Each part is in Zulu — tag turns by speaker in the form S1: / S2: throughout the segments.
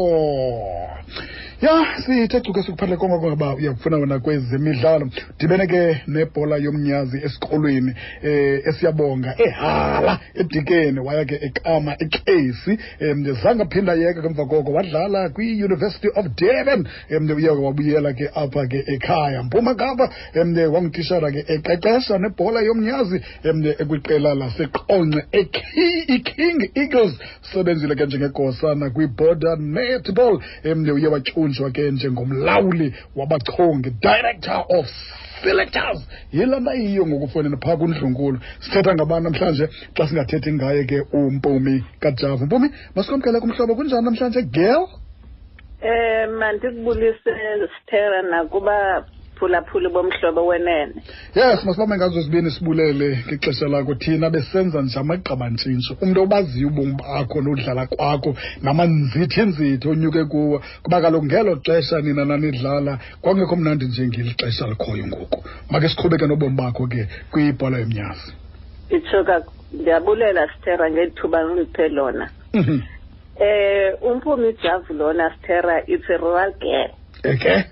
S1: Oh. Ya sithe cuke sikuphele konke kwaba uyakufuna wena kwezemidlalo dibene ke nebhola yomnyazi esikolweni eh esiyabonga ehala edikeni waya ke ekama ekesi emzange phinda yeka kemva koko wadlala kwi University of Durban emde uye wabuyela ke apha ke ekhaya mpuma kapa emde wangitishara ke eqeqesha nebhola yomnyazi emde ekwiqela laseqonce eKi- iKing Eagles sebenzile ke njengegosana kwi-border netball emde uye watshunjwa ke njengomlawuli wabachongi director of selectors yilana yiyo ngokufoneni phaa kundlunkulu sithetha ngabantu namhlanje xa singathethi ngaye ke umpumi kajava mpumi masikwamkele kumhlobo kunjani namhlanje girl
S2: Eh mandikubulise Stella nakuba phulaphuli bomhlobo wenene.
S1: yes masibambe ngazo zibini sibulele ngexesha lakho thina besenza nje amagqabantshintsho umntu obaziyo ubomi bakho nodlala kwakho namanzithinzithi onyuke kuwo kuba kaloku ngelo xesha nina nanidlala kwakungekho mnandi njengeli xesha likhoyo ngoku make siqhubeke nobomi bakho ke kwibhola yomnyazi
S2: Itshoka ndiyabulela Stella ngethuba ngiphe lona.
S1: Mhm.
S2: Eh umpumi Javu lona Stella it's a rural girl.
S1: eke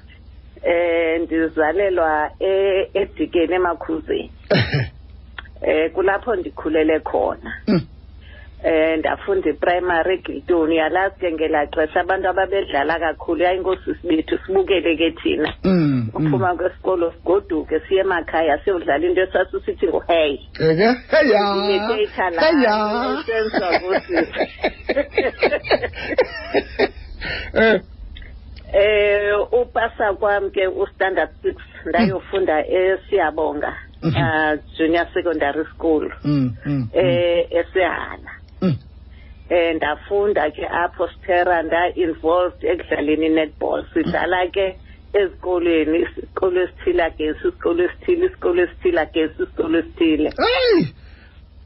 S2: Eh ndizalelwa e- eDikeni emakhuzeni. Eh kulapho ndikhulele khona.
S1: Mm.
S2: Eh ndafunda iprimary Gilton yalazi ke ngelaxesha abantu ababedlala kakhulu yayinkosi sibethu sibukele ke thina.
S1: Mm, mm.
S2: uphuma kwesikolo sigoduke siye emakhaya siyodlala into esasusithi nguhey
S1: eke
S2: Imitate la,
S1: heya
S2: imitate sakuthi.
S1: Eh,
S2: um upasa kwam ke ustandard six ndayofunda esiyabonga
S1: Mhm.
S2: uh, junior secondary school
S1: mm, mm, mm,
S2: eh esehala
S1: mm.
S2: eh ndafunda ke apho stera nda-involved ekudlaleni i-netball sidlala ke ezikolweni isikolo esithile agesi isikolo esithile isikolo esithile agesi isikolo esithile
S1: Hey!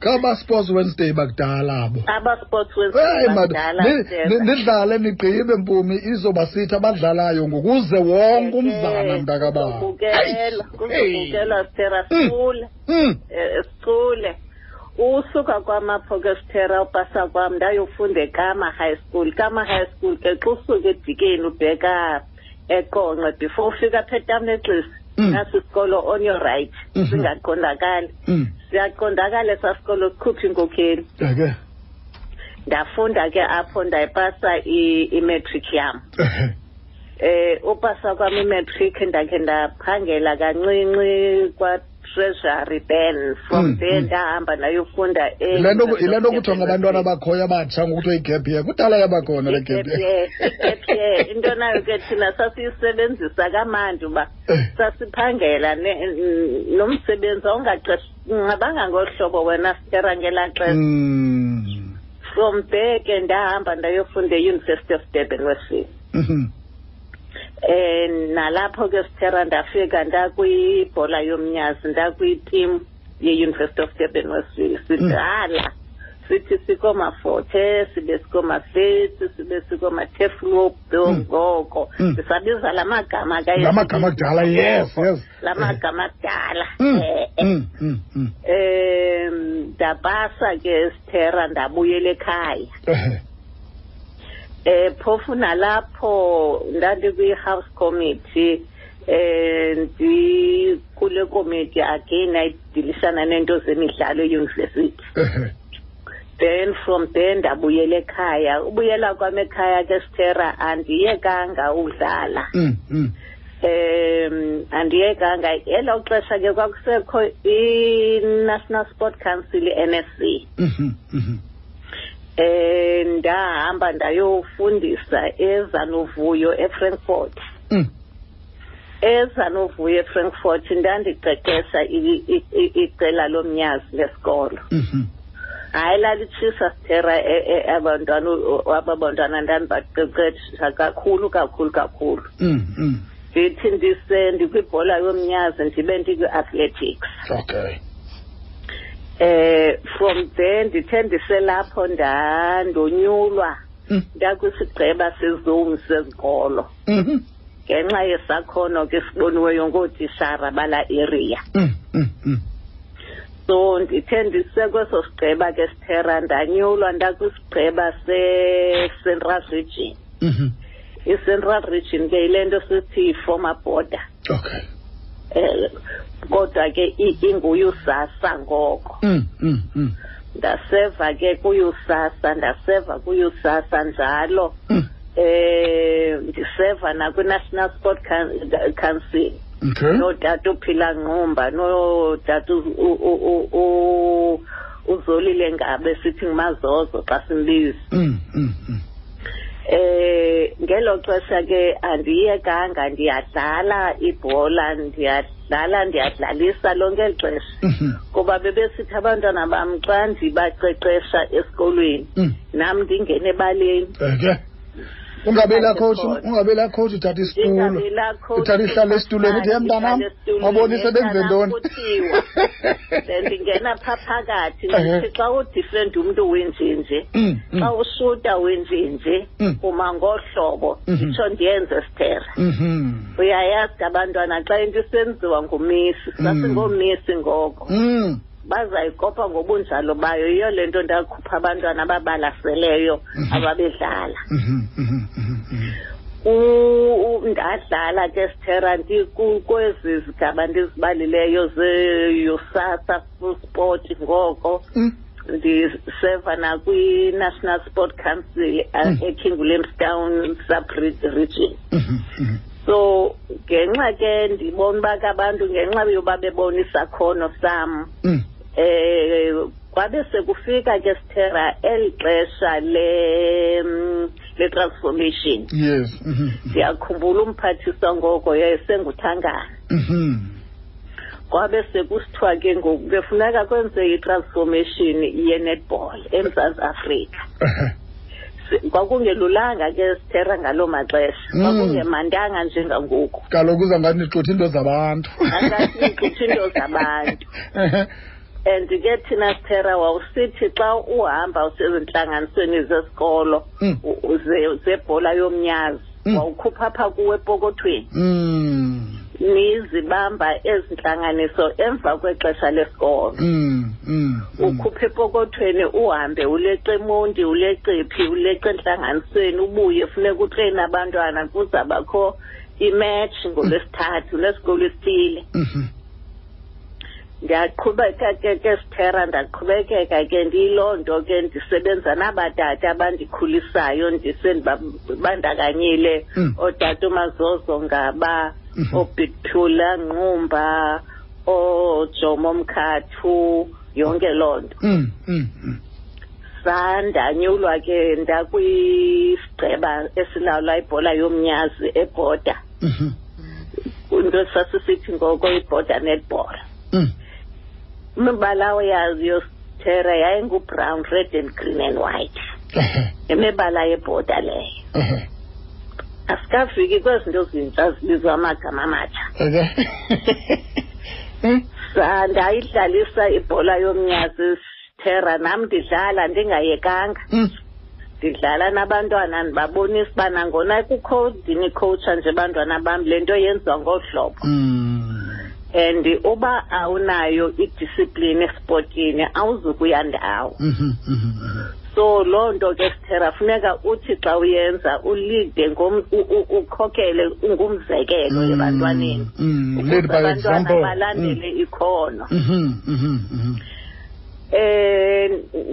S1: Kaba Sports Wednesday bakudala abo.
S2: abasports
S1: Hey man, ni- ni-
S2: wensidlala
S1: nidlale nigqibe mpumi izoba sithi abadlalayo ngokuze wonke umzana mntakababa. Hey!
S2: kubukela kubukela stera
S1: Mm.
S2: sicule
S1: Mm.
S2: eh, sicule usuka kwamapho ke stera upasa kwam ndayofunda ekama high school kama high school ke xa usuka edikeni ubheka eqonqe before ufika pha etamnexisi
S1: Mm.
S2: nasi isikolo on your right
S1: Mhm.
S2: singaqondakali
S1: Mm.
S2: siyaqondakala esaa sikolo sikhupha inkokheli
S1: Eke.
S2: ndafunda ke apho ndayipasa i- i-matric yam eh upasa kwami matric ndakhe ndaphangela kancinci kwa treasury then from
S1: Mm,
S2: there
S1: mm.
S2: ndahamba ndayofunda e-
S1: Yile nto yile nto kuthiwa ngabantwana abakhoyo abatsha ngokuthiwa igap year kudala yabakhona le gap
S2: e-,
S1: year.
S2: year into nayo ke thina sasiyisebenzisa kamandi uba
S1: Eh.
S2: sasiphangela ne- n- nomsebenzi awungaqeshabanga ngohlobo wena sitera ngelaa xesha
S1: Mm.
S2: from there ke ndahamba ndayofunda e-university of durban wesini
S1: Mhm.
S2: eh nalapho ke sithera ndafika ndakwibhola yomnyazi ndakwitim ye-university of durban weswil
S1: Mm.
S2: sidlala sithi sikoomafothe sibe sikoomafetsi sibe sikooma-teflop
S1: Mm.
S2: ngoko
S1: Mm.
S2: ndisabiza la magama ka-
S1: La magama akudala, yes, yes. Eh.
S2: la magama akudala
S1: Mm.
S2: eh, eh.
S1: Mm. Mm. Mm.
S2: um ndapasa ke sithera ndabuyela ekhaya
S1: Eh.
S2: eh phofu nalapho ndandikwi house committee eh ndikule committee again ayidilishana nento zemidlalo eyunivesithi
S1: Eh.
S2: then from there ndabuyela ekhaya ubuyela kwam ekhaya ke stera andiyekanga udlala
S1: Mm. Mm.
S2: um andiyekanga elo xesha ke kwakusekho i-national sport council i-nsc
S1: Mhm. Mhm.
S2: eh ndahamba ndayofundisa ezanovuyo eFrankfurt
S1: Mm.
S2: ezanovuyo eFrankfurt ndandiqeqesha i- i- i- iqela lomnyazi lesikolo
S1: Mhm.
S2: hayi lalitshisa sithera e- e- abantwana ababantwana ndandibaqeqesha kakhulu kakhulu kakhulu
S1: Mm. Mm.
S2: ndithi ndise ndikwibhola yomnyazi ndibe ndikwi-athletics
S1: Okay.
S2: eh from there ndithe ndiselapho ndandonyulwa
S1: Mm.
S2: ndakwisigqeba sezone sezikolo
S1: Mhm.
S2: ngenxa yesakhono ke siboniweyo ngootishara bala area
S1: Mm. Mm. Mm.
S2: so ndithe ndisekweso sigqeba ke sithera ndanyulwa ndakwisigqeba se-central region
S1: Mhm.
S2: i-central region ke ile nto sithi yi-former border
S1: Okay.
S2: um kodwa ke i- inguyusasa ngoko
S1: Mm, mm, mm.
S2: ndaseva ke kuyusasa ndaseva kuyusasa njalo
S1: Mm.
S2: eh ndiseva nakwi-national sport Coun- council
S1: Okay.
S2: notata uphila nqumba notata u- u- u- u- uzolile ngabe sithi ngumazozo xa simbiza
S1: Mm, mm, mm.
S2: eh ngelo xesha ke andiyekanga ndiyadlala ibhola ndiyadlala ndiyadlalisa lonke eli xesha
S1: Mhm.
S2: kuba bebesithi abantwana bam xa ndibaqeqesha esikolweni
S1: Mm.
S2: nam ndingene ebaleni
S1: Okay. Ungabe la coach,
S2: Ndingabi
S1: ungabe la coach uthatha isitulo.
S2: Ndingabi la coach,
S1: Uthatha ihlala esitulweni uthi mntanam
S2: ihlala esitulweni,
S1: wabonise benze
S2: mntanam,
S1: ntoni.
S2: kuthiwa." bendingena phaa phakathi ndithi xa udifrent umntu wenjenje
S1: Mm, mm.
S2: xa ushuta wenjenje
S1: Mm.
S2: uma ngohlobo
S1: Mhm.
S2: nditsho ndiyenze sithera
S1: Mhm.
S2: uyayazi ke abantwana xa into isenziwa ngumisi
S1: Mm.
S2: sasingoomisi ngoko
S1: Mm.
S2: bazayikopa ngobunjalo bayo yiyo le nto ndakhupha abantwana ababalaseleyo
S1: Mhm.
S2: ababedlala
S1: Mhm, mhm, mhm, mhm.
S2: U- u- ndadlala ke sithera ndi- ku- kwezi zigaba ndizibalileyo zeusasa full sport ngoko
S1: Mm.
S2: ndiseva nakwi-national sport council uh,
S1: Mm.
S2: ekingulmstown subregion
S1: Mhm, mhm.
S2: so ngenxa ke ndibona uba ke abantu ngenxa yoba bebona isakhono sam
S1: Mm.
S2: eh kwabe sekufika ke sithera eli xesha le mm, le transformation
S1: Yes. Mhm, mhm.
S2: ndiyakhumbula umphathiswa ngoko yayisenguthangana
S1: Mhm.
S2: kwabe sekusithiwa ke ngoku befuneka kwenze i-transformation ye-netball emzantsi afrika
S1: Ehe.
S2: Si- kwakungelulanga ke sithera ngaloo maxesha
S1: Mm.
S2: kwakungemandanga njengangoku
S1: Kaloku uzanganixutha into zabantu.
S2: Akasixuthi into zabantu.
S1: Ehe.
S2: and ke thina sithera wawusithi xa uhamba usezintlanganisweni zesikolo
S1: Mm.
S2: u- u- ze- zebhola yomnyazi
S1: Mm.
S2: wawukhupha phaa kuwe epokothweni
S1: Mm.
S2: nizibamba ezintlanganiso emva kwexesha lesikolo
S1: Mm. Mm. mm.
S2: ukhuphe epokothweni uhambe uleqe emonti uleqephi uleqe entlanganisweni ubuye funeka utreyine abantwana kuzabakho imetshi ngolwesithathu lesikolo esithile
S1: Mhm.
S2: ndiyaqhubeka ke ke sithera ndaqhubekeka ke ndiyiloo nto ke ndisebenza nabatata abandikhulisayo ndisendibandakanyile
S1: Mm.
S2: ootata umazozo ngaba
S1: Mhm.
S2: oobitphula nqumba oojomo mkhathu yonke loo nto
S1: Mm. Mm. Mm.
S2: sandanyulwa ke ndakwisigqeba esilawula ibhola yomnyazi ebhoda
S1: Mhm.
S2: into sasisithi ngoko ibhoda netbhola
S1: Mm.
S2: imibala yayo sithera yayingubrown red and green and white
S1: Ehe.
S2: imibala yebhoda leyo
S1: Ehe.
S2: asikafiki kwezinto zintsha zibizwa amagama amatsha
S1: Okay. Mm.
S2: Sa- ndayidlalisa ibhola yomnyazi sithera nam ndidlala ndingayekanga
S1: Mm.
S2: ndidlala nabantwana ndibabonisa uba nangona kukho ndinikhowutsha nje bantwana bam le nto yenziwa ngohlobo
S1: Mm.
S2: and uba awunayo idiscipline esipotini awuzukuya ndawo
S1: Mhm. Mhm. Mhm.
S2: so loo nto ke sithera funeka uthi xa uyenza ulide ngom- u- u- ukhokele ungumzekelo
S1: Mm.
S2: ebantwaneni
S1: Mm.
S2: Ukuze
S1: Lead by
S2: abantwana
S1: example. Mm.
S2: balandele ikhono
S1: Mhm. Mhm. Mhm.
S2: um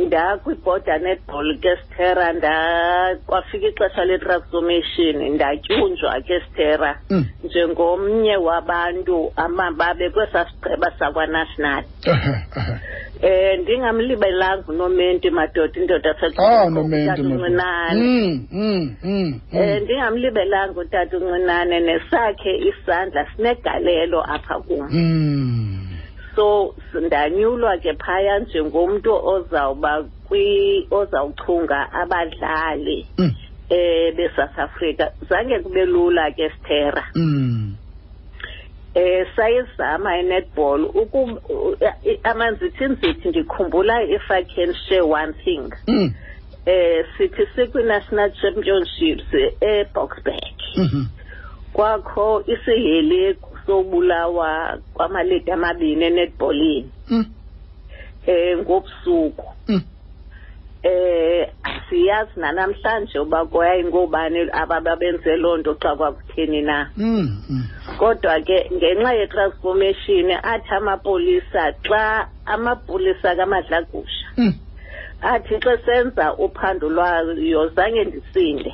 S2: ndakwibhoda netball ke sithera nda- kwafika ixesha le-transformation ndatyunjwa ke sithera
S1: Mm.
S2: njengomnye wabantu amababe kwesaa sigqeba sakwanational
S1: Ehe. Ehe.
S2: Eh ndingamlibelanga unomenti madoda indoda
S1: Ah, nomento.
S2: uncinane
S1: Mm. Mm. Mm.
S2: eh
S1: Mm.
S2: ndingamlibelanga utata uncinane nesakhe isandla sinegalelo apha kum
S1: Mm.
S2: so s- ndanyulwa ke phaya njengomntu ozawuba kwi ozawuchunga abadlali
S1: Mm.
S2: eh beSouth Africa zange kube lula ke Stera
S1: Mm.
S2: eh sayizama inetball ukub i- amanzi thinzithi ndikhumbula if I can share one thing
S1: Mm.
S2: eh sithi sikwi-national championships eboxburg
S1: Mhm.
S2: kwakho isiheleku sobulawa kwamalidi amabini enetbolini
S1: Mm.
S2: um eh, ngobusuku
S1: Mm.
S2: eh siyazi nanamhlanje uba kwaye ngoobani abababenze loo nto kuthiwa kwakutheni na
S1: Mm, mm.
S2: kodwa ke ngenxa ye-transformation athi amapolisa xa amapolisa kamadlagusha
S1: Mm.
S2: athi xa senza uphando lwayo zange ndisinde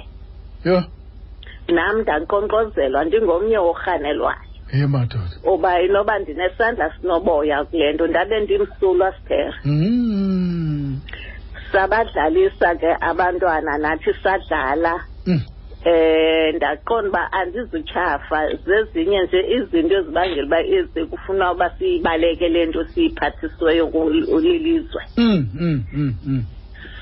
S1: Yho,
S2: nam ndankqonkqozelwa ndingomnye worhanelwayo
S1: ye madoda.
S2: uba inoba ndinesandla sinoboya kule nto ndabe ndimsulwa sithere
S1: Mm.
S2: sabadlalisa ke abantwana nathi sadlala
S1: Mm.
S2: eh ndaqonda uba andizutyhafa zezinye nje izinto ezibangela uba ezi kufuna uba siyibaleke le nto siyiphathisiweyo kulilizwe
S1: Mm, mm, mm, mm.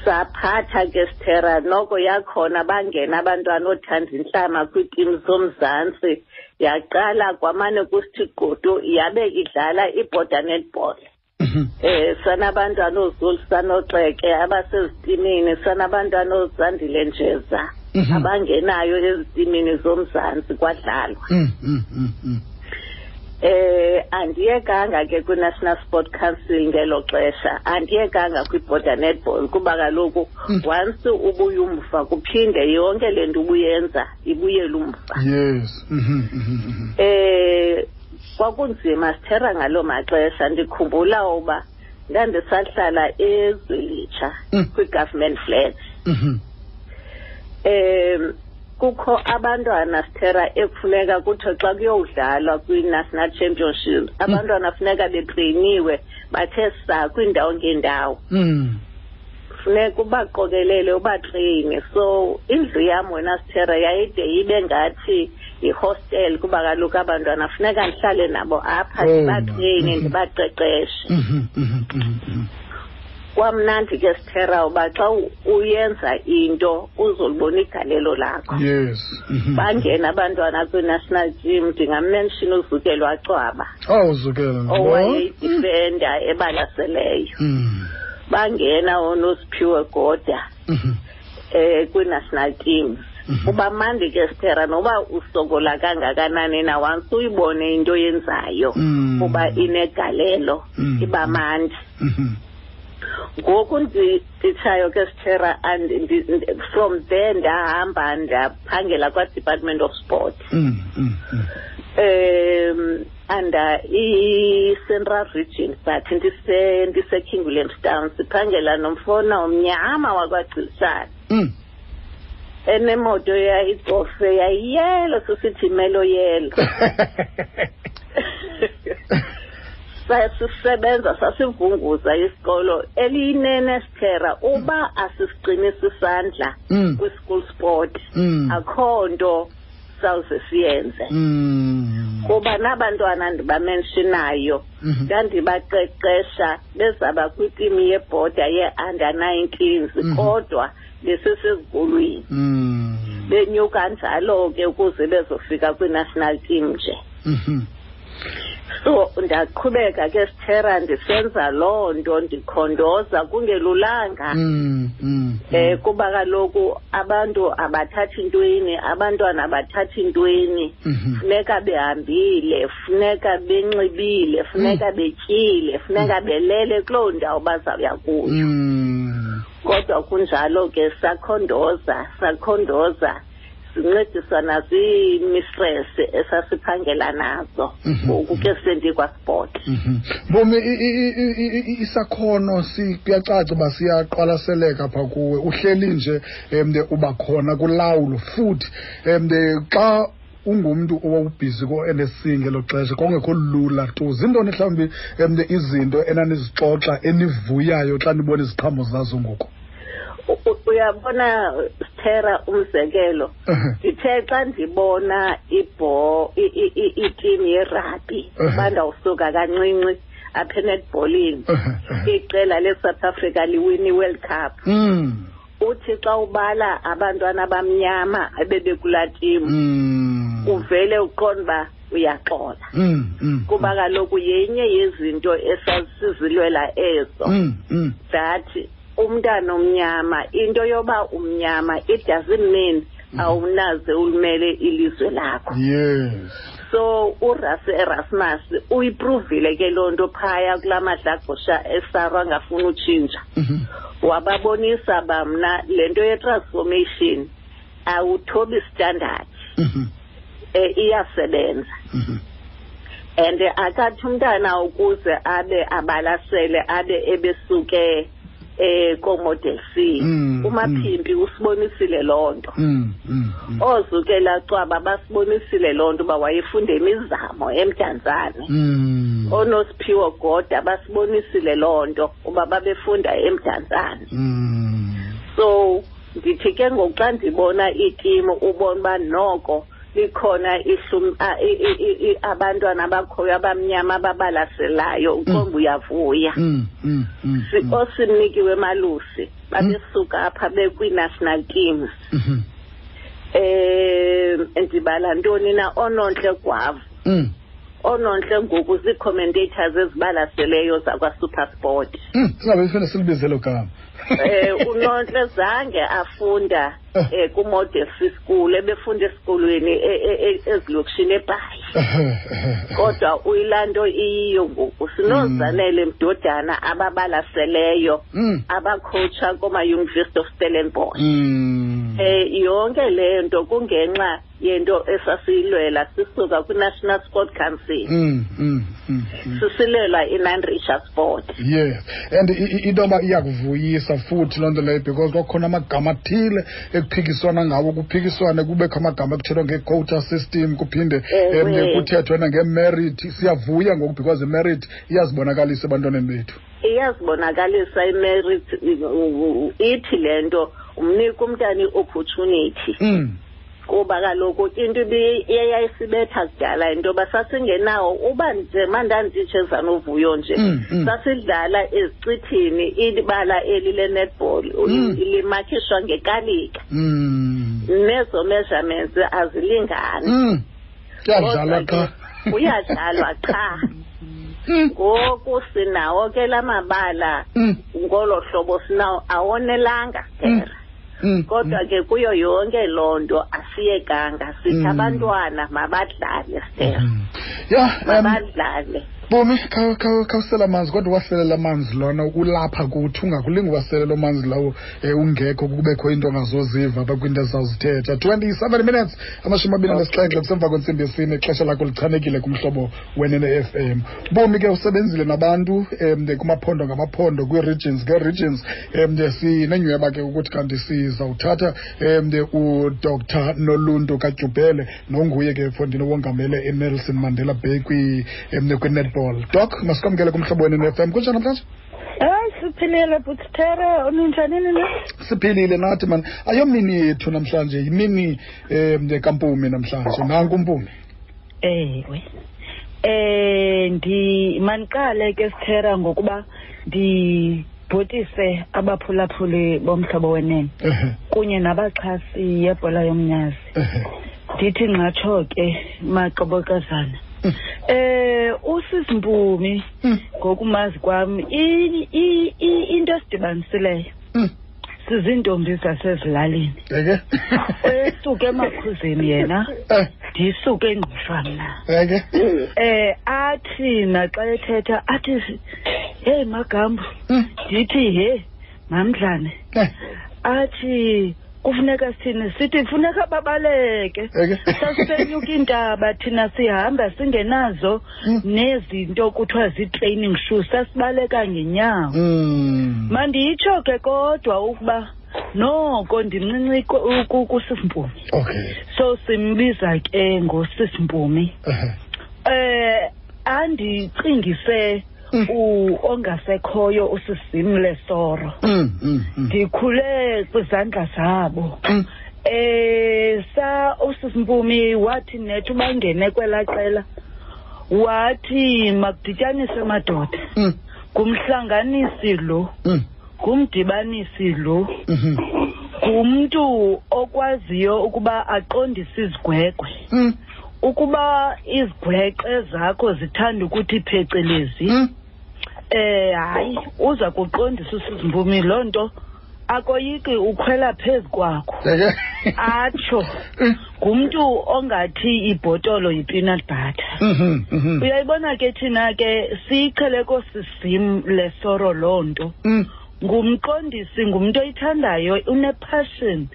S2: saphatha ke sithera noko yakhona bangena abantwana othanda intlama kwiitim zomzantsi yaqala kwamane kusithi qoto yabe idlala ibhoda netball
S1: Mhm.
S2: eh sanabantwana oozulu sanoxeke abasezitimini sanabantwana oozandile njeza
S1: Mhm.
S2: abangenayo ezitimini zomzantsi kwadlalwa
S1: Mm, mm, mm, mm.
S2: eh andiyekanga ke kwi-national sport council ngelo xesha andiyekanga kwi-border netball kuba kaloku
S1: Mm.
S2: once ubuye umva kuphinde yonke le nto ubuyenza ibuyele umva
S1: Yes. Mhm, mhm, mhm.
S2: eh kwakunzima sithera ngaloo maxesha ndikhumbula uba ndandisahlala ezwelitsha
S1: Mm.
S2: kwi-government flat
S1: Mhm.
S2: um kukho abantwana sithera ekufuneka kuthiwe xa kuyowudlalwa kwi-national championship abantwana funeka betreyiniwe bathe saa kwiindawo ngeendawo
S1: Mm.
S2: funeka ubaqokelele ubatreyine so indlu yam wena sithera yayide ibe ngathi yihostel kuba kaloku abantwana funeka ndihlale nabo apha
S1: Oh, ma.
S2: ndibatreyine
S1: Mhm.
S2: ndibaqeqeshe
S1: Mhm, mhm, mhm, mhm.
S2: kwamnandi ke sithera uba xa u- uyenza into uzolibona igalelo lakho
S1: Yes. Mhm.
S2: bangena abantwana kwi-national gym ndingammenshina uzukelwa cwaba
S1: Oh, uzukela.
S2: owayeyidifenda ebalaseleyo
S1: Mm.
S2: bangena onosiphiwe goda
S1: Mhm.
S2: um kwi-national teams
S1: Mhm.
S2: uba mandi ke sithera noba usokola kangakanani na once uyibone into yenzayo
S1: Mm.
S2: kuba inegalelo
S1: Mm.
S2: iba mandi
S1: Mhm.
S2: ngoku ndi- nditshayo ke sithera and ndi- ndi- from there ndahamba ndaphangela kwa-department of sport
S1: Mm, mm, mm.
S2: um under i-central region but ndise- ndise-kingland town siphangela nomfona umnyama wakwagcilishana
S1: Mm.
S2: enemoto yayicofe yayiyelo sisithi melo yelo sasisebenza sasivunguza isikolo eliyinenesithera uba asisiqinisi isandla
S1: Mm.
S2: kwi-school sport
S1: Mm.
S2: akho nto sawuze siyenze
S1: Mm.
S2: kuba nabantwana ndibamenshinayo
S1: Mhm.
S2: ndandibaqeqesha bezaba kwitimu yebhoda ye-under 19s
S1: Mhm.
S2: kodwa besisezikolweni
S1: Mm.
S2: benyuka njalo ke ukuze bezofika kwi-national team nje
S1: Mhm.
S2: so ndaqhubeka ke sithera ndisenza loo nto ndikhondoza kungelulanga
S1: Mm, mm,
S2: eh
S1: mm.
S2: kuba kaloku abantu abathathi ntweni abantwana abathathi ntweni
S1: Mhm.
S2: funeka behambile funeka benxibile funeka betyile funeka belele kuloo ndawo bazawuya kuyo
S1: Mm.
S2: kodwa kunjalo ke sakhondoza sakhondoza sincediswa naziimistress esasiphangela nazo
S1: Mhm.
S2: ngoku ke sendikwasport
S1: Mhm. Bomi i- i- i- i- i- isakhono si- kuyacaca uba siyaqwalaseleka phaa kuwe uhleli nje emde uba khona kulawulo futhi emde xa ungumntu owawubhizi ko-nsc ngelo xesha kwakungekho lula tu zintoni mhlawumbi emde izinto enanizixoxa enivuyayo xa nibona iziqhamo zazo ngoku
S2: U- u- uyabona sithera umzekelo
S1: Ehe.
S2: ndithe xa ndibona ibho i- i- i- itim yerabhi
S1: Mhm.
S2: uba ndawusuka kancinci apha enetbholini
S1: Ehe, ehe.
S2: iqela le-south africa liwini iworld cup
S1: Mm,
S2: uthi xa ubala abantwana abamnyama ebebekulaa tim
S1: mm,
S2: uvele uqonda uba uyaxola
S1: mm, mm,
S2: kuba kaloku yenye yezinto esasizilwela ezo
S1: mm, mm,
S2: that umntana omnyama into yoba
S1: Mm.
S2: umnyama it doesn't mean awunaze ulimele ilizwe lakho
S1: yes
S2: so uras erasmus uyiprovile ke loo nto phaya kulaa madlagosha esarwa angafuni utshintsha
S1: Mhm.
S2: wababonisa bamna le nto ye-transformation awuthobi standard
S1: Mhm.
S2: um iyasebenza
S1: Mhm.
S2: and akathi umntana ukuze abe abalasele abe ebesuke um komodel c
S1: Mm,
S2: umaphimbi usibonisile loo nto
S1: Mm, mm, mm.
S2: ozuke lacwaba basibonisile loo nto uba wayefunde imizamo emdanzane
S1: Mm.
S2: oonosiphiwo goda basibonisile loo nto uba babefunda emdanzane
S1: Mm.
S2: so ndithi ke ngoku xa ndibona iikimu ubona uba noko likhona ihlum- a- i- i- i- i- abantwana abakhoyo abamnyama ababalaselayo ukombe uyavuya
S1: Mm, mm, mm, mm.
S2: osimnikiwe malusi babesuka apha bekwi-national teams
S1: Mhm.
S2: um ndibala ntoni na oonontle gwavu
S1: Mm,
S2: oonontle ngoku zii-commentators ezibalaseleyo zakwasupersport
S1: mm. singabe sifuna silibize elo gama
S2: eh unonhle zange afunda eh ku model school ebefunda esikolweni e- e- e- ezilokishini eBhayi
S1: Eh.
S2: kodwa uyilanto iyiyo ngoku sinozanele mdodana ababalaseleyo
S1: Mm,
S2: abacoacha koma University of Stellenbosch
S1: mm.
S2: eh yonke le nto kungenxa yento esasiyilwela sisuka ku National Sport Council
S1: Mm, mm, mm, mm.
S2: sisilela inandrisha sport
S1: yes and i- i- into yoba iyakuvuyisa futhi loo nto leyo because kwakukhona amagama athile ekuphikiswana ngawo kuphikiswane kubekho amagama ekuthelwa nge-quota system kuphinde
S2: Ewe.
S1: em, kuthethwe nangemerit siyavuya ngoku because imerit iyazibonakalisa ebantwaneni bethu
S2: iyazibonakalisa imerit ithi lento umnika umntana i-opportunity
S1: Mm,
S2: kuba kaloku into iyeyayisibetha kudala into yoba sasingenawo uba nje mandanditshe zanovuyo nje
S1: Mm, mm.
S2: sasidlala ezicithini ibala eli le-netball
S1: Mm.
S2: limakishwa ngekalika
S1: mm,
S2: nezo measurements azilingani
S1: mm. kuyadlalwa qha
S2: uyadlalwa qha
S1: Mm,
S2: ngoku sinawo ke la mabala
S1: mm,
S2: ngolo hlobo sinawo awonelanga
S1: mm,
S2: tera
S1: mm,
S2: kodwa ke kuyo yonke loo nto asiyekanga sithi
S1: Mm.
S2: abantwana mabadlale tera
S1: Mm. ya em,
S2: mabadlale
S1: bomi kha- kha- khawusela amanzi kodwa uwaselela amanzi lona ulapha kuthi ungakulingi uwaselela amanzi lawo um ungekho kubekho into ongazoziva apha kwinto ezizawuzithetha twenty-seven minutes amashumi abini anesixhenxe kusemva kwentsimbi yesine ixesha lakho lichanekile kumhlobo wenene-f m bomi ke usebenzile nabantu um kumaphondo ngamaphondo kwii-regions ngee-regions um sinenyhweba ke ukuthi kanti sizawuthatha um udr noluntu katyubhele nonguye ke fondini wongamele enelson mandela bay kwi- em, kwi-netball doc masikwamkele kumhlobo wenu ne-fm kunjani namhlanje
S3: hayi siphilile butithere ninjani nina
S1: siphilile nathi mani ayomini yethu namhlanje yimini um kampumi namhlanje nanku umpumi
S3: ewe eh ndi maniqale ke sithera ngokuba ndibhotise abaphulaphuli bomhlobo wenene
S1: Ehe,
S3: kunye nabaxhasi yebhola yomnyazi
S1: ehe.
S3: ndithi ngatsho ke maqobokazana eh usizimpumi
S1: Mm,
S3: ngokumazi kwam i- i- i- into esidibanisileyo
S1: mm,
S3: siziintombi zasezilalini
S1: eke
S3: esuke emakhuzeni yena
S1: Eh,
S3: ndisuke engqusha mna
S1: eke
S3: eh athi naxa ethetha athi hey magambo
S1: Mm,
S3: ndithi he mamdlane
S1: eh,
S3: athi kufuneka sithini sithi funeka babaleke
S1: eke
S3: sasisenyuka iintaba thina sihamba singenazo
S1: Mm.
S3: nezinto kuthiwa zii-training shoes sasibaleka ngenyawo
S1: Mm.
S3: mandiyitsho ke kodwa ukuba noko ndincinci ku- ku- kusisimpumi
S1: Okay.
S3: so simbiza ke ngosisimpumi
S1: Ehe.
S3: eh andicingise
S1: Mm.
S3: u ongasekhoyo usizimle soro
S1: Mm, mm, mm.
S3: Tipo- ndikhule kwizandla zabo
S1: Mm,
S3: eh sa usisimpumi wathi nethi ubangene kwelaqela wathi makudityaniswe madoda
S1: mm,
S3: ngumhlanganisi lo
S1: mm,
S3: ngumdibanisi lo
S1: mhm.
S3: ngumntu okwaziyo ukuba aqondise izigwegwe
S1: Mm,
S3: ukuba izigwexe zakho zithanda ukuthi phecelezi
S1: mm,
S3: eh hayi uza kuqondisa usizimpumi loo nto akoyiki ukhwela phezu kwakho
S1: Yeke.
S3: atsho
S1: Hum.
S3: ngumntu ongathi ibhotolo yi-peanut butter
S1: Mhm, mhm.
S3: uyayibona ke thina ke siyiqhele kosisim lesoro loo nto
S1: Mm.
S3: ngumqondisi ngumntu oyithandayo unepassion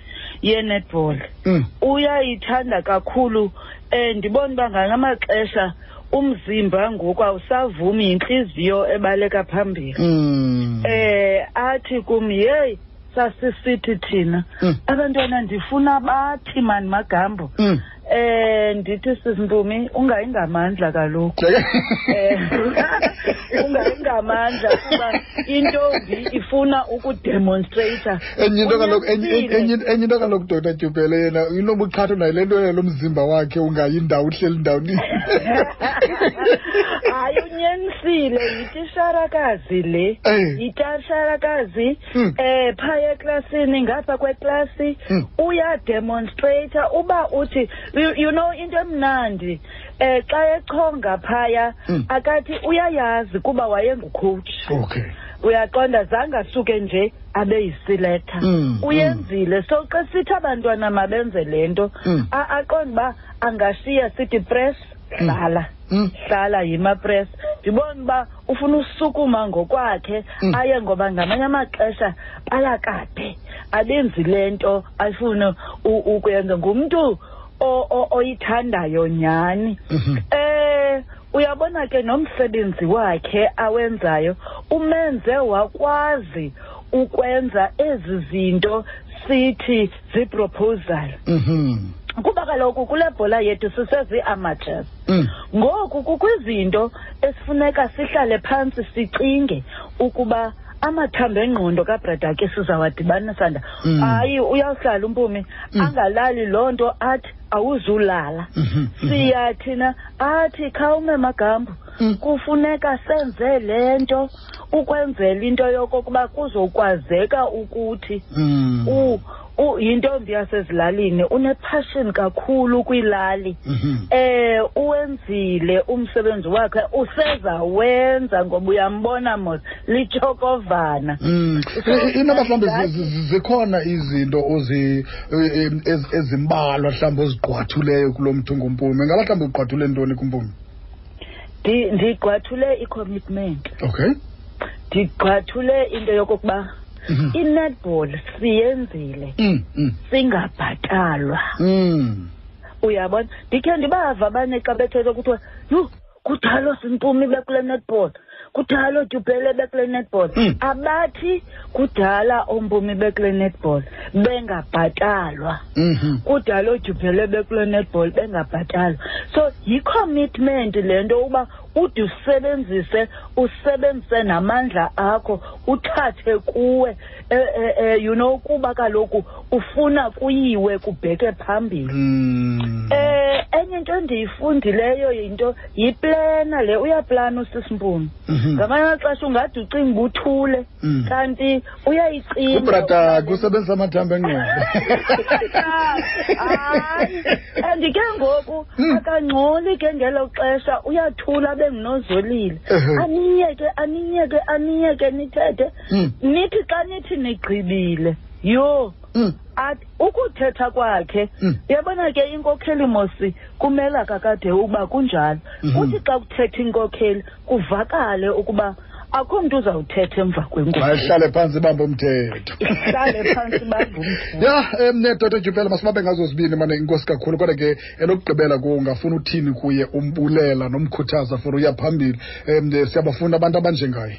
S3: yenetball
S1: Mm.
S3: uyayithanda kakhulu um ndibona uba ngangamaxesha umzimba ngoku awusavumi yintliziyo ebaleka phambili
S1: Mm.
S3: eh athi kum yeyi sasisithi thina
S1: Mm.
S3: abantwana ndifuna bathi mani magambo
S1: Mm.
S3: eh ndithi sisimpumi ungayingamandla kaloku
S1: Yeke.
S3: eh ungayingamandla kuba intombi ifuna ukudemonstrata
S1: enye into kaloku enye- enye enye- enye into kaloku dr tyubhele yena inobuqhatho nayo le nto yalo mzimba wakhe ungayindawo uhleli ndawoni
S3: hayi unyenisile yitisharakazi le
S1: Eh.
S3: yitisharakazi
S1: Mm.
S3: eh phaya eklasini ngapha kweklasi
S1: Mm.
S3: uyademonstrata uba uthi you, you know into emnandi eh xa echonga phaya
S1: Mm.
S3: akathi uyayazi kuba wayengucoach
S1: okay
S3: uyaqonda zange asuke nje abe yisiletha
S1: Mm,
S3: uyenzile so xa sithi abantwana mabenze le nto
S1: Mm.
S3: a- aqonda uba angashiya sithi press
S1: Mm.
S3: hlala
S1: Mm.
S3: hlala yima press ndibona uba ufuna usukuma ngokwakhe
S1: Mm.
S3: aye ngoba ngamanye amaxesha bayakade abenzi le nto afune u- ukuyenza ngumntu o- o- oyithandayo nyhani
S1: Mhm.
S3: eh uyabona ke nomsebenzi wakhe awenzayo umenze wakwazi ukwenza ezi zinto sithi ziproposal
S1: Mhm.
S3: kuba kaloku kule bhola yethu sisezii-amateurs
S1: Mm.
S3: ngoku kukwizinto esifuneka sihlale phantsi sicinge ukuba amathambo engqondo kabrada ke sizawadibanisa nda
S1: Mm.
S3: hayi uyawuhlala umpumi
S1: Mm.
S3: angalali loo nto athi awuzulala
S1: Mhm.
S3: siya thina athi khawume magambo
S1: Mm.
S3: kufuneka senze le nto ukwenzela into yokokuba kuzokwazeka ukuthi
S1: Mm.
S3: u- u- yintombi yasezilalini unepassion kakhulu kwiilali
S1: Mhm.
S3: eh uwenzile umsebenzi wakhe useza wenza ngoba uyambona mos litshokovana
S1: Mm. I- inoba mhlawumbi zi- zi- zikhona izinto ozi- eh, eh, ez- ezimbalwa mhlawumbi ozigqwathuleyo kulo mthungumpume ngaba mhlawumbi ugqwathule ntoni kumpume
S3: Ndi- ndigqwathule i-commitment
S1: okay
S3: ndigqwathule into yokokuba
S1: Mhm.
S3: i-netball siyenzile
S1: Mm, mm,
S3: singabhatalwa
S1: mm.
S3: uyabona ndikhe ndibava abane xa bethetha kuthiwa yhu kudalo simpumi bekule netball kudalo dubhele bekule netball
S1: Mm.
S3: abathi kudala ompumi bekule netball bengabhatalwa
S1: Mhm.
S3: kudala odubhele bekule netball bengabhatalwa so yi-commitment le nto uba ude usebenzise usebenzise namandla akho uthathe kuwe eh, eh, eh, you know kuba kaloku ufuna kuyiwe kubheke phambili
S1: Mm.
S3: Eh enye into endiyifundileyo yinto yiplana le uyaplana usisimpumi.
S1: Mhm.
S3: Ngamanye amaxesha ungade ucinga uba uthule
S1: Mm.
S3: kanti uyayicinga.
S1: ubrata kusebenzisa amathambo engqondo
S3: Hayi and ke ngoku
S1: Mm.
S3: akangcoli ke ngelo xesha uyathula benginozolile.
S1: Ehhe.
S3: Aniyeke aniyeke aniyeke nithethe
S1: Mm,
S3: nithi xa nithi nigqibile yho
S1: mm,
S3: athi ukuthetha kwakhe
S1: Mm.
S3: uyabona ke inkokheli mosi kumela kakade uba kunjalo
S1: Mhm.
S3: kuthi xa kuthetha inkokheli kuvakale ukuba akho mntu uzawuthetha emva kwenkosi
S1: mayihlale phantsi bambe umthetho
S3: Ihlale phantsi ibambe umthetho.
S1: ya um dr jupela masibabe ngazo zibini mane inkosi kakhulu kodwa ke elokugqibela kungafuna uthini kuye umbulela nomkhuthaza for uya phambili um siyabafuna abantu abanjengaye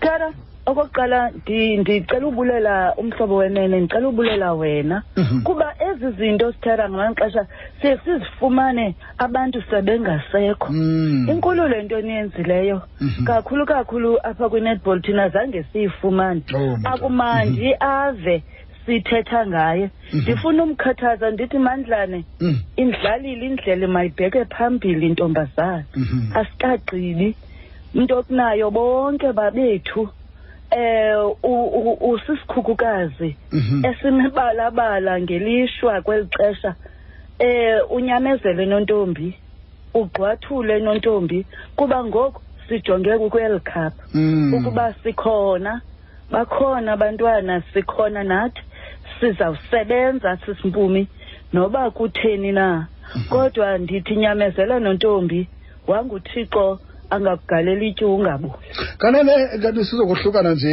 S3: tata okokuqala ndi- ndicela ubulela umhlobo wenene ndicela ubulela wena
S1: Mhm.
S3: kuba ezi zinto sithera ngamaxesha siye sizifumane abantu sebengasekho
S1: Mm.
S3: inkulu le nto eniyenzileyo
S1: Mhm.
S3: kakhulu kakhulu apha kwi-netball thina zange siyifumane
S1: Oh, my God.
S3: akumandi ave sithetha ngaye
S1: Mhm.
S3: ndifuna umkhuthaza ndithi mandlane
S1: Mm,
S3: indlalile indlela mayibheke phambili intombazana
S1: mhm.
S3: asikagqibi into okunayo bonke babethu um usisikhukukazi
S1: Mhm.
S3: esimibalabala ngelishwa kweli xesha eh unyamezele nontombi ugqwathule nontombi kuba ngoku sijonge kukweli cup
S1: Mm.
S3: ukuba sikhona bakhona abantwana sikhona nathi sizawusebenza sisimpumi noba kutheni na
S1: Mm-hmm.
S3: kodwa ndithi nyamezela nontombi wanguthixo angakugalela ityu ungabuki
S1: kanene kanti sizokohlukana nje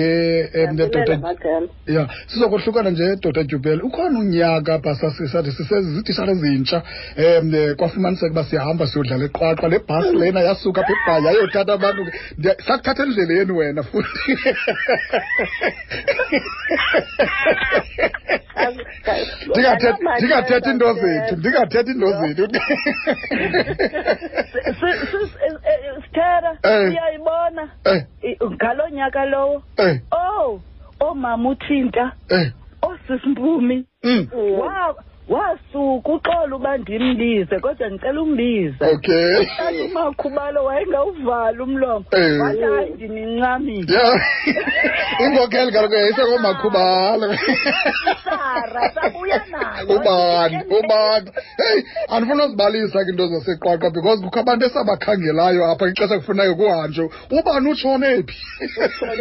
S1: eh, em, nedoda ya sizokohlukana nje doda tyubele ukhona unyaka apha sasi- sathi sisezitishara ezintsha um kwafumaniseka uba siyahamba siyodlala eqwaqwa le bhasi lena yasuka apha ebhayi yayothatha abantu ke. Ndiya- sakuthatha endleleni wena futhi Ndingathe- ndingathethi into zethu ndingathethi into zethu
S3: sithera
S1: Eh.
S3: uyayibona
S1: Eh,
S3: i- ngaloo nyaka lowo
S1: eh,
S3: ow oomama uthinta
S1: eh,
S3: osisimpumi
S1: mm,
S3: Wa- wasuka uxolo uba ndimbize kodwa ndicela umbize
S1: okay
S3: kanti umakhubalo wayengawuvali umlomo
S1: Eh.
S3: wathi hayi ndinincamile
S1: ya inkokheli kaloku yayisengoomakhubalo
S3: Sara, sabuya nayo.
S1: ubani ubani heyi andifuna uzibalisa ke into zaseqwaqa because kukho abantu esabakhangelayo apha ixesha kufunayo kuhanjwe ubani utshone phi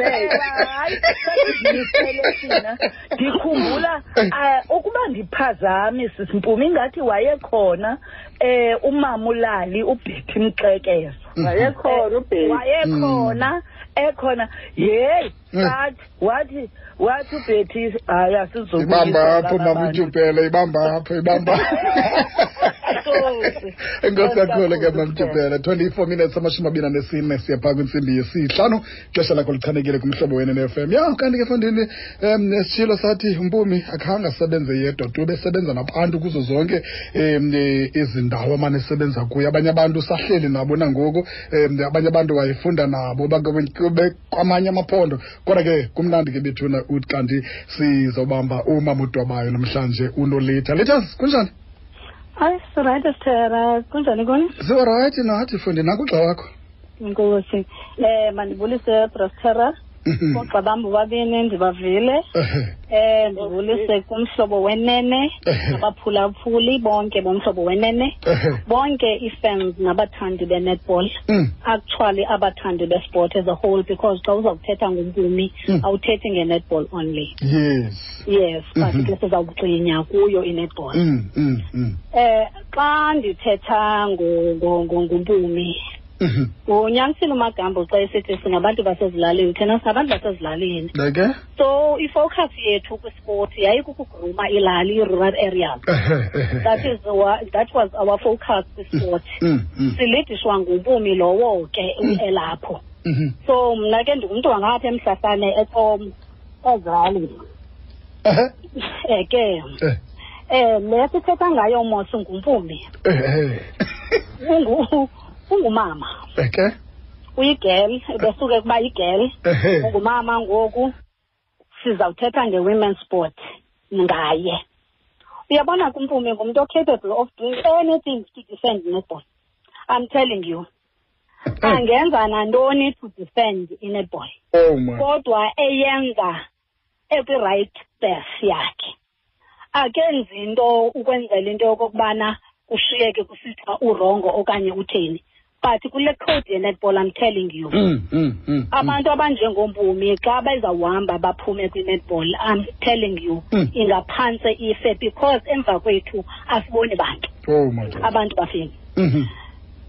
S3: Hayi, sasizimisele thina. ndikhumbula
S1: Eh.
S3: eh, ukuba ndiphazami sisimpumi ingathi wayekhona eh umama ulali ubhethi mxekezo
S1: Mm.
S2: wayekhona ubheki
S3: wayekhona ekhona yeyi
S1: Eh.
S3: sathi wathi wathi ubhethi hayi
S1: ibamba apho mama
S3: asizobuyisa
S1: utyupele ibamba apho ibamba
S3: Enkosi.
S1: enkosi kakhulu ke
S3: Enkosi
S1: mam tyupele twenty-four minutes amashumi abini anesine siyaphaa kwintsimbi yesihlanu ixesha lakho lichanekile kumhlobo wena ne-f m ya kanti ke fondini um nesitshilo sathi mpumi akhange asebenze yedwa tu besebenza nabantu kuzo zonke um izindawo amane esebenza kuyo abanye abantu sahleli nabo nangoku um abanye abantu wayefunda nabo bakwe- kube- kwamanye amaphondo kodwa ke kumnandi ke bethuna uthi kanti sizobamba umama udwabayo namhlanje unolitha litha kunjani
S4: hayi right estera kunjani kuni
S1: ziwarayithi nathi fundi nakugxa wakho
S4: inkosi um mandibulise prostera
S1: Mhm.
S4: oogxa bam bobabini ndibavile
S1: Ehhe,
S4: um ndibulise kumhlobo wenene
S1: Ehe.
S4: abaphulaphuli bonke bomhlobo wenene
S1: ehhe.
S4: bonke ii-fans nabathandi be-netball
S1: Mm,
S4: actually abathandi besport as a whole because xa uzawuthetha ngompumi
S1: Mm.
S4: awuthethi nge-netball only
S1: yes
S4: yes
S1: Mhm.
S4: but ke sizawugcinya kuyo i-netball
S1: Mm, mm, mm.
S4: um xa ndithetha ngo- ngo- ngo- ngompumi
S1: Mhm.
S4: unyanisile umagambo xa esithi singabantu basezilalini thina singabantu basezilalini
S1: ndake
S4: so ifocus yethu kwisport yayikukugruma ilali i-rural areas
S1: Ehhe, ehhe,
S4: that,
S1: ehhe.
S4: is, wa- that was our focus kwisport
S1: Mm, mm,
S4: silidishwa ngubumi lowo ke elapho
S1: mhm.
S4: so mna ke ndingumntu wangapha emhlasane etom ezali
S1: Ehhe,
S4: um ke
S1: eh,
S4: um le sithetha ngayo mos ngumpumi
S1: ehhe.
S4: Ungu- ungumama
S1: Ndake?
S4: uyigel besuke kuba yigel
S1: Ehhe.
S4: ngumama ngoku sizawuthetha nge-women sport ngaye uyabona kumpumi ngumntu ocapable of doing anything to defend inetball i'm telling you angenza nantoni to defend inetball
S1: Oh my
S4: kodwa eyenza ekwi-right beth yakhe akenzi into ukwenzela into yokokubana kushiyeke kusithiwa urongo okanye utheni but kule code yenetball i'm telling you
S1: Mm, mm, mm, mm.
S4: abantu abanjengompumi xa bezawuhamba baphume kwi-netball i'm telling you
S1: Mm.
S4: ingaphantse ife because emva kwethu asiboni bantu
S1: Oh my God.
S4: abantu bafeni
S1: Mhm,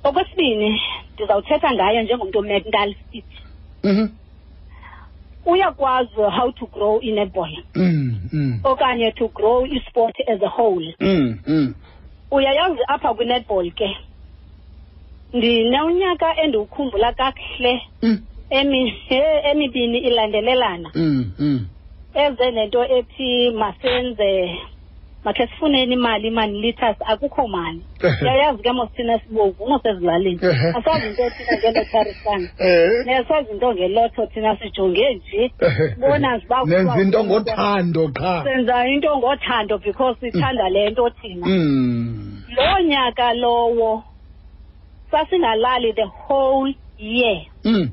S4: okwesibini ndizawuthetha ngayo njengomntu mental fit
S1: mhm,
S4: uyakwazi how to grow i-netball
S1: mm, mm,
S4: okanye to grow i-sport as a whole
S1: mm, mm.
S4: uyayazi apha kwi-netball ke ndinonyaka endiwukhumbula kakuhle
S1: Mm,
S4: emi- emibini ilandelelana
S1: mm, mm.
S4: eze nento ethi masenze makhe sifuneni imali mani liters akukho mali
S1: Ehhe.
S4: uyayazi ke mosithina sibovu mosezilalini
S1: Ehhe.
S4: asazi into ethina ngelotarisana
S1: Eh,
S4: nesazi into ngelotho thina sijonge nje
S1: ehhe,
S4: bona
S1: ehhe.
S4: ziba-
S1: nenza into ngothando qha
S4: senza into ngothando because sithanda le nto thina
S1: Mm.
S4: loo nyaka lowo sasingalali the whole year
S1: Mm,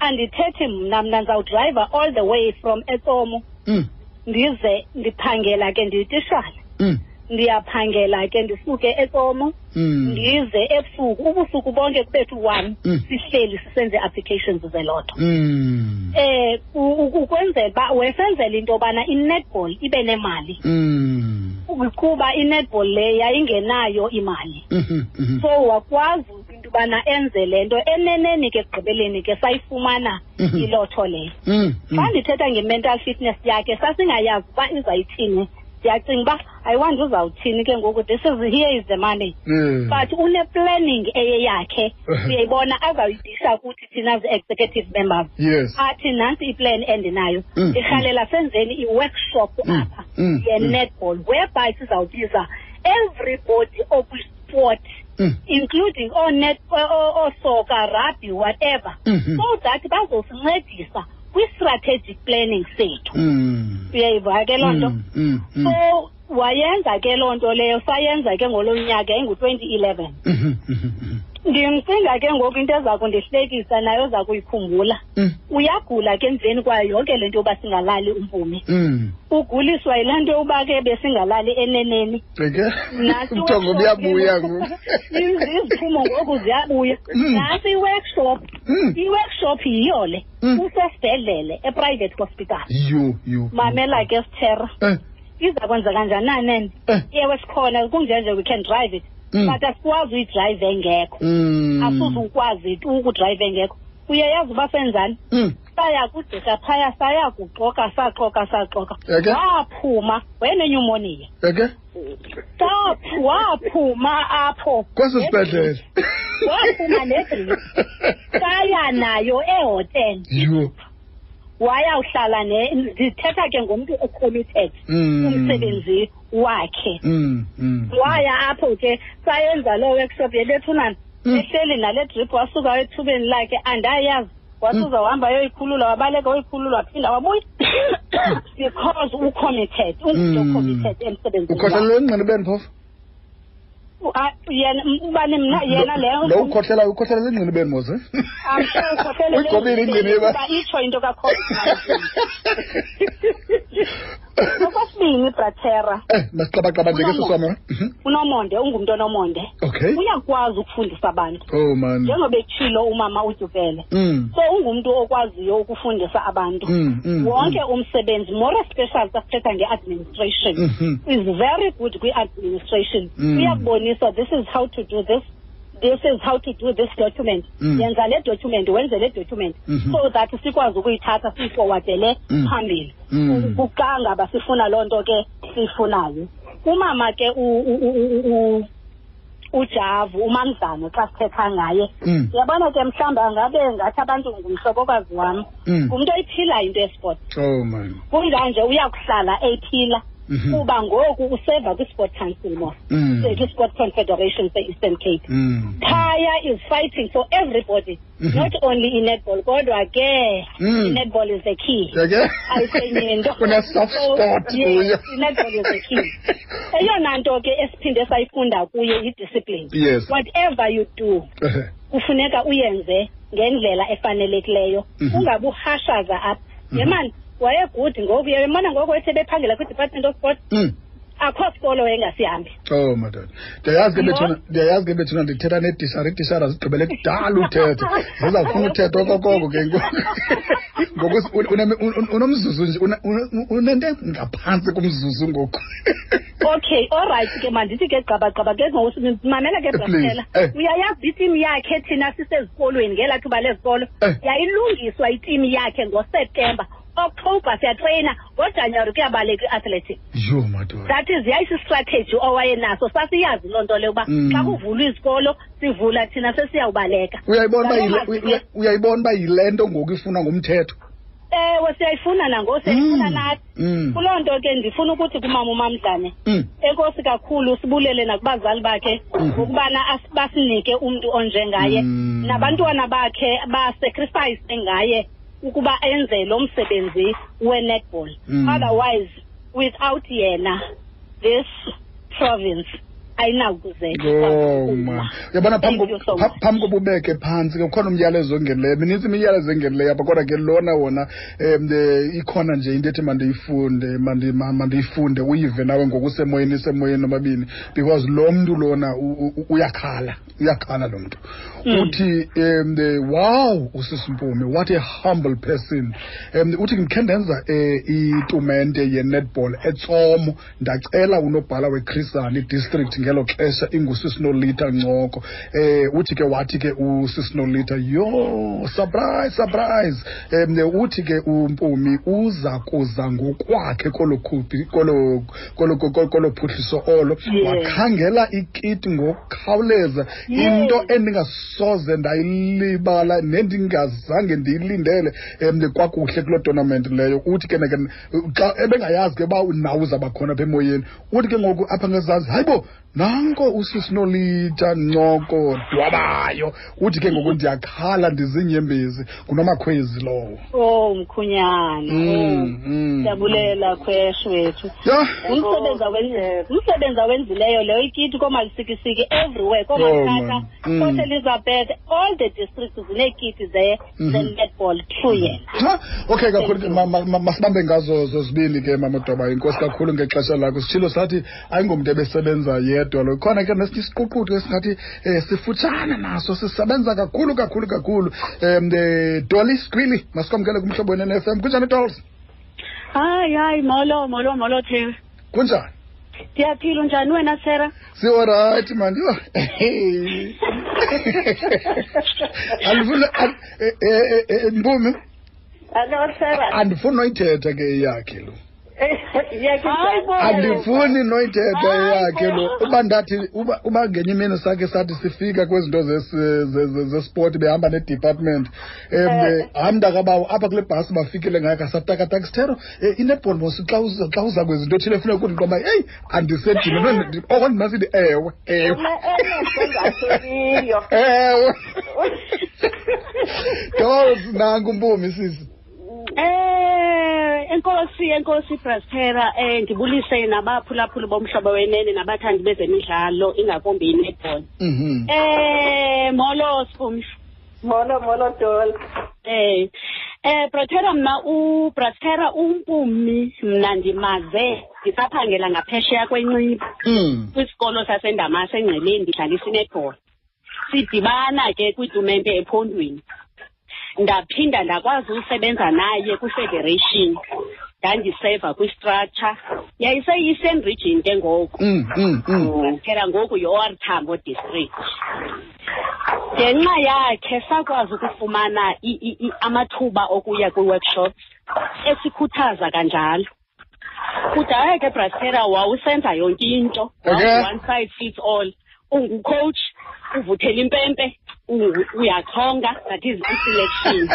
S4: andithethi mna mna ndizawudrayiva all the way from etsomo
S1: mm,
S4: ndize ndiphangela ke ndiyititshala
S1: mm.
S4: ndiyaphangela ke ndisuke eTsomo
S1: Mm.
S4: ndize ebusuku ubusuku bonke kubethu one
S1: Mm.
S4: sihleli sisenze applications zelotho
S1: Mm.
S4: eh u- u- ukwenzela uba wesenzela into yobana i-netball ibe nemali
S1: Mm.
S4: kuba i-netball le yayingenayo imali
S1: Mhm, mhm.
S4: so wakwazi into yobana enze le nto eneneni ke ekugqibeleni ke sayifumana
S1: Mhm.
S4: ilotho leyo
S1: Mm, mm.
S4: xa ndithetha nge-mental fitness yakhe sasingayazi uba izayithini ndiyacinga uba ayiwandi uzawuthini ke ngoku this is here is the money
S1: Yeah.
S4: but une-planning eyeyakhe
S1: Uh-huh.
S4: uyayibona azawuyidisha kuthi thina zi-executive members
S1: Yes.
S4: athi nantsi iplan endinayo
S1: Mm.
S4: ndirhalela senzeni i-workshop
S1: Mm.
S4: apha
S1: Mm.
S4: ye-netball whereby sizawubiza everybody okwi-sport
S1: Mm.
S4: including oo-net- oo- oo- oosoka rugby whatever
S1: Mhm.
S4: so that bazosincedisa kwi-strategic planning sethu
S1: Mm.
S4: uyayiva ke loo nto
S1: Mm, mm, mm.
S4: so wayenza ke loo nto leyo sayenza ke ngolo nyaka engu-twenty eleven
S1: Mhm, mhm,
S4: ndimcinga ke ngoku into eza kundihlekisa nayo oza kuyikhumbula
S1: mhm.
S4: uyagula ke emveni kwayo yonke le nto yoba singalali umpumi
S1: Mm.
S4: uguliswa yilaa nto yoba ke besingalali eneneni
S1: Eke?
S4: Nantsi
S1: Uthongo
S4: i-workshop
S1: buyabuya
S4: ke
S1: ngoku.
S4: ngoku. Iz- iziphumo ngoku ziyabuya
S1: Mm.
S4: nantsi iworkshop
S1: Mm.
S4: iworkshop yiyo le
S1: Mm.
S4: usesibhedlele eprivate hospital
S1: Yo, yo.
S4: mamela ke sithera
S1: Eh,
S4: iza kwenzeka njani
S1: eh.
S4: ewe sikhona kunjenje we can drive it
S1: Mm.
S4: but asikwazi uyidrayive engekho
S1: Mm.
S4: asuze ukwazi tu ukudrayive engekho uyayazi uba senzani
S1: Mm.
S4: saya kugqirha phaya saya kuxoka saxoka saxoka
S1: Eke?
S4: waphuma wayenenyumoniya
S1: Eke?
S4: Stop, waphuma apho
S1: Kwesi sibhedlele.
S4: Waphuma nedrip. saya nayo ehotele
S1: Yo.
S4: wayawuhlala ne ndithetha ke ngomntu ocommitted
S1: Mm.
S4: umsebenzi wakhe
S1: Mm, mm.
S4: waya apho ke sayenza loo workshop yebethunana
S1: Mm.
S4: ehleli nale drip wasuka ethubeni lakhe andayazi
S1: Mm.
S4: wasuza wahamba yoyikhulula wabaleka woyikhulula waphinda wabuya because ucommitted ungumntu
S1: Mm.
S4: ocommitted emsebenzini wakhe.
S1: ukhohlelela engqinibeni phofu
S4: Ah, yena ubani mna yena
S1: lo
S4: leyo
S1: ukhohlelayo ukhohlelela engqinibeni moze
S4: I'm sure ukhohlelele
S1: uyigqobile ingqiniba
S4: ingqiniba. Uba itsho into ka-COVID-19. okwesibini bratera
S1: Eh, masixabaxaba nje ke sisama Mhm.
S4: unomonde ungumntu onomonde
S1: okay
S4: uyakwazi ukufundisa abantu
S1: oh man
S4: njengoba etshilo umama utyukele
S1: Mm,
S4: so ungumntu okwaziyo ukufundisa abantu
S1: mm, mm,
S4: wonke
S1: mm.
S4: umsebenzi more especially xa sithetha nge-administration
S1: Mhm.
S4: is very good kwi-administration
S1: Mm.
S4: uyakubonisa this is how to do this this is how to do this document
S1: Mm.
S4: yenza le document wenze le document
S1: Mhm.
S4: so that sikwazi ukuyithatha siyifowadele
S1: Mm.
S4: phambili
S1: Mm.
S4: U- xa ngaba sifuna loo nto ke siyifunayo umama ke u- u- u- u- u- ujavu umamzane xa sithetha ngaye
S1: Mm,
S4: uyabona ke mhlawumbi angabe ngathi abantu ngumhlobokazi wam
S1: mm.
S4: ngumntu oyiphilayo into yesport
S1: oh man
S4: kunganje uyakuhlala eyiphila
S1: Mhm.
S4: kuba ngoku useva kwi-sport council mos
S1: Mm.
S4: kwi-sport confederation se-eastern cape
S1: Mm.
S4: phaya is fighting for everybody
S1: Mhm.
S4: not only i-netball kodwa ke
S1: Mm.
S4: i-netball is the key
S1: Yeke?
S4: ayisenye into
S1: Kune-soft
S4: So,
S1: Eh. spot oh,
S4: yes,
S1: kuyo.
S4: i-netball is the key eyona nto ke esiphinde sayifunda kuye yi-discipline
S1: yes
S4: whatever you do
S1: Eh,
S4: kufuneka uyenze ngendlela efanelekileyo
S1: Mhm.
S4: ungabe uhashaza apha
S1: Mhm.
S4: yemani wayegudi ngoku yebona ngoku wethe bephangela kwi-department of sport
S1: Mm.
S4: akho sikolo wayengasihambi
S1: Oh madod. Ndiyayazi ke
S4: Yho.
S1: bethuna ndiyayazi ke bethuna ndithetha netishara itishara zigqibele kudala uthetha. Ziza kufuna uthetha okokoko ke ngoku. Ngoku us- un- une- un- un- unomzuzu nje una- una- unento ngaphantsi kumzuzu ngoku.
S4: okay allright ke mandithi ke gqabagqaba ke ngoku si- mamela ke
S1: Please,
S4: brakela
S1: eh.
S4: uyayazi uba itim yakhe thina sisezikolweni ngelaa thuba lezikolo
S1: Eh.
S4: yayilungiswa itim yakhe ngoseptemba october siyatreyina ngojanuwari kuyabaleka i-athletics
S1: Yho madod.
S4: that is yayisistrategy owayenaso sasiyazi loo nto leyo uba
S1: Mm.
S4: xa kuvulwa izikolo sivula thina sesiyawubaleka
S1: Uyayibona uba yile
S4: Kaloku
S1: uya- uya- uyayibona uba yile nto ngoku ifuna ngumthetho.
S4: ewe siyayifuna nangoku siyayifuna nathi
S1: Mm.
S4: kuloo nto ke ndifuna ukuthi kumama umamdlane
S1: Mm.
S4: enkosi kakhulu sibulele nakubazali bakhe
S1: Mhm.
S4: ngokubana as- basinike umntu onjengaye
S1: Mm.
S4: nabantwana bakhe basacrifice ngaye ukuba enze lo msebenzi we-netball
S1: Mm.
S4: otherwise without yena this province
S1: Oh
S4: ayinakuzeka
S1: ma. Uyabona phambi
S4: Thank you so
S1: ko-
S4: much.
S1: pha- phambi kobubeke phantsi ke ukhona umyalezo ongenileyo. Minintsi imiyalezo engenileyo apha kodwa ke lona wona em, eh, ikhona nje into ethi mandiyifunde mandi- ma- mandiyifunde uyive nawe ngokusemoyeni isemoyeni nomabini because lo mntu lona u- u- uyakhala uyakhala lo mntu.
S4: Mm.
S1: Uthi em, eh, wow usisi Mpumi what a humble person. Em, uthi ndikhe ndenza eh, itumente ye-netball etsomo ndacela unobhala wechristani district ngelo xesha ingusisinolita ncoko eh uthi ke wathi ke usisinolita yo surprise surprise um uthi ke umpumi uza kuza ngokwakhe kolo khuphi- kolo kolo kolo- kolo phuhliso olo
S4: Yes.
S1: wakhangela ikiti ngokukhawuleza into endingasoze ndayilibala nendingazange ndiyilindele um kwakuhle kuloo tournament leyo uthi ke ne ke xa ebengayazi ke uba nawe uzawuba khona apha emoyeni uthi ke ngoku apha ngezantsi hayi bo nanko usisinolita ncoko dwabayo uthi ke ngoku ndiyakhala ndiziinyembezi ngunomakhwezi lowo
S4: oh mkhunyana oh.
S1: Mm, mm.
S4: ndiyabulela khweshe wethu
S1: ya
S4: umsebenzi awenzi- eh, umsebenzi awenzileyo leyo ikiti koomalisikisiki everywhere koomathatha
S1: Oh, man. Mm.
S4: port elizabeth all the districts zineekiti ze-
S1: Mhm.
S4: ze-netball through yena
S1: Ha, okay kakhulu ke, ma- ma- ma- masibambe ngazo zozibini ke mama doba inkosi kakhulu ngexesha lakho sitshilo sathi ayingomntu ebesebenza yedwa lo khona ke nesinye isiququthu esingathi um sifutshane naso sisebenza kakhulu kakhulu kakhulu um doli sqwili masikwamkele kumhlobo wen-n f m kunjani dols
S4: hayi hayi molo molo molo thewe
S1: kunjani
S4: ndiyaphila unjani wena sera
S1: siworayithi mani yho hey. andifuni and- eh, eh, eh, eh, mpumi
S2: Hello, Sarah.
S1: andifuni noyithetha ke eyakhe lo
S2: Hayi bo.
S1: andifuni noyithetha yakhe lo uba ndathi uba uba ngenye imini sakhe sathi sifika kwezinto zesi- ze- ze- zesport behamba nedepartment um hamndakabawo apha kule bhasi bafikile ngayo kasatakataka sithero um inebhol mos xa uza- xa uza kwezinto ethile funeka kundiqoba heyi andisedini oko ndinasithi ewe ewe
S2: Engapheliyo.
S1: ewe dos nanku mpumi sisi
S4: Eh enkosi enkosi Prospera eh ndibulise nabaphulaphuli bomhlobo wenene nabathandi bezemidlalo ingakumbi netball.
S1: Mhm.
S4: Eh molo Sphumi.
S2: Molo, molo, Dol.
S4: Eh eh Prospera mna u Prospera umpumi mna ndimaze ndisaphangela ngaphesheya kwenxiba
S1: Mm.
S4: kwisikolo sasendamase engceleni ndidlalisa inetball. Sidibana ke kwitumente ephondweni. Ndaphinda ndakwazi usebenza naye kwi-federation. Ndandiseva kwi-structure. Yayiseyi-Eastern region ke ngoku.
S1: Mm, mm, mm.
S4: Phela ngoku yi-OR Tambo district. Ngenxa yakhe sakwazi ukufumana i- i- i- amathuba okuya kwi-workshops esikhuthaza kanjalo. Kudala ke Brasera wawusenza yonke into.
S1: Okay.
S4: Wawu One size fits all. Ungucoach, uvuthela impempe, u- uyachonga, that is i-selection.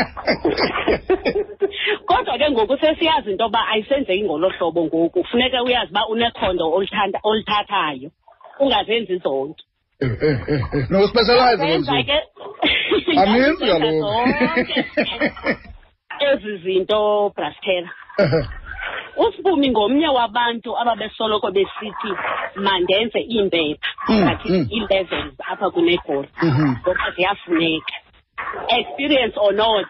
S4: kodwa ke ngoku sesiyazi into yoba ayisenzeki ngolo hlobo ngoku funeka uyazi uba unekhondo olithanda- olithathayo ungazenzi zonke
S1: Eh, eh, eh, eh. nokuspecialize ke
S4: Senza
S1: nje
S4: ke
S1: Aninzi
S4: senza
S1: kaloku.
S4: zonke ezi zinto brastela usibumi ngomnye wabantu ababesoloko besithi mandenze iimpepha
S1: Mm,
S4: that is
S1: mm.
S4: ii-levels apha kunegoli
S1: Mhm.
S4: ngoba ziyafuneka experience or not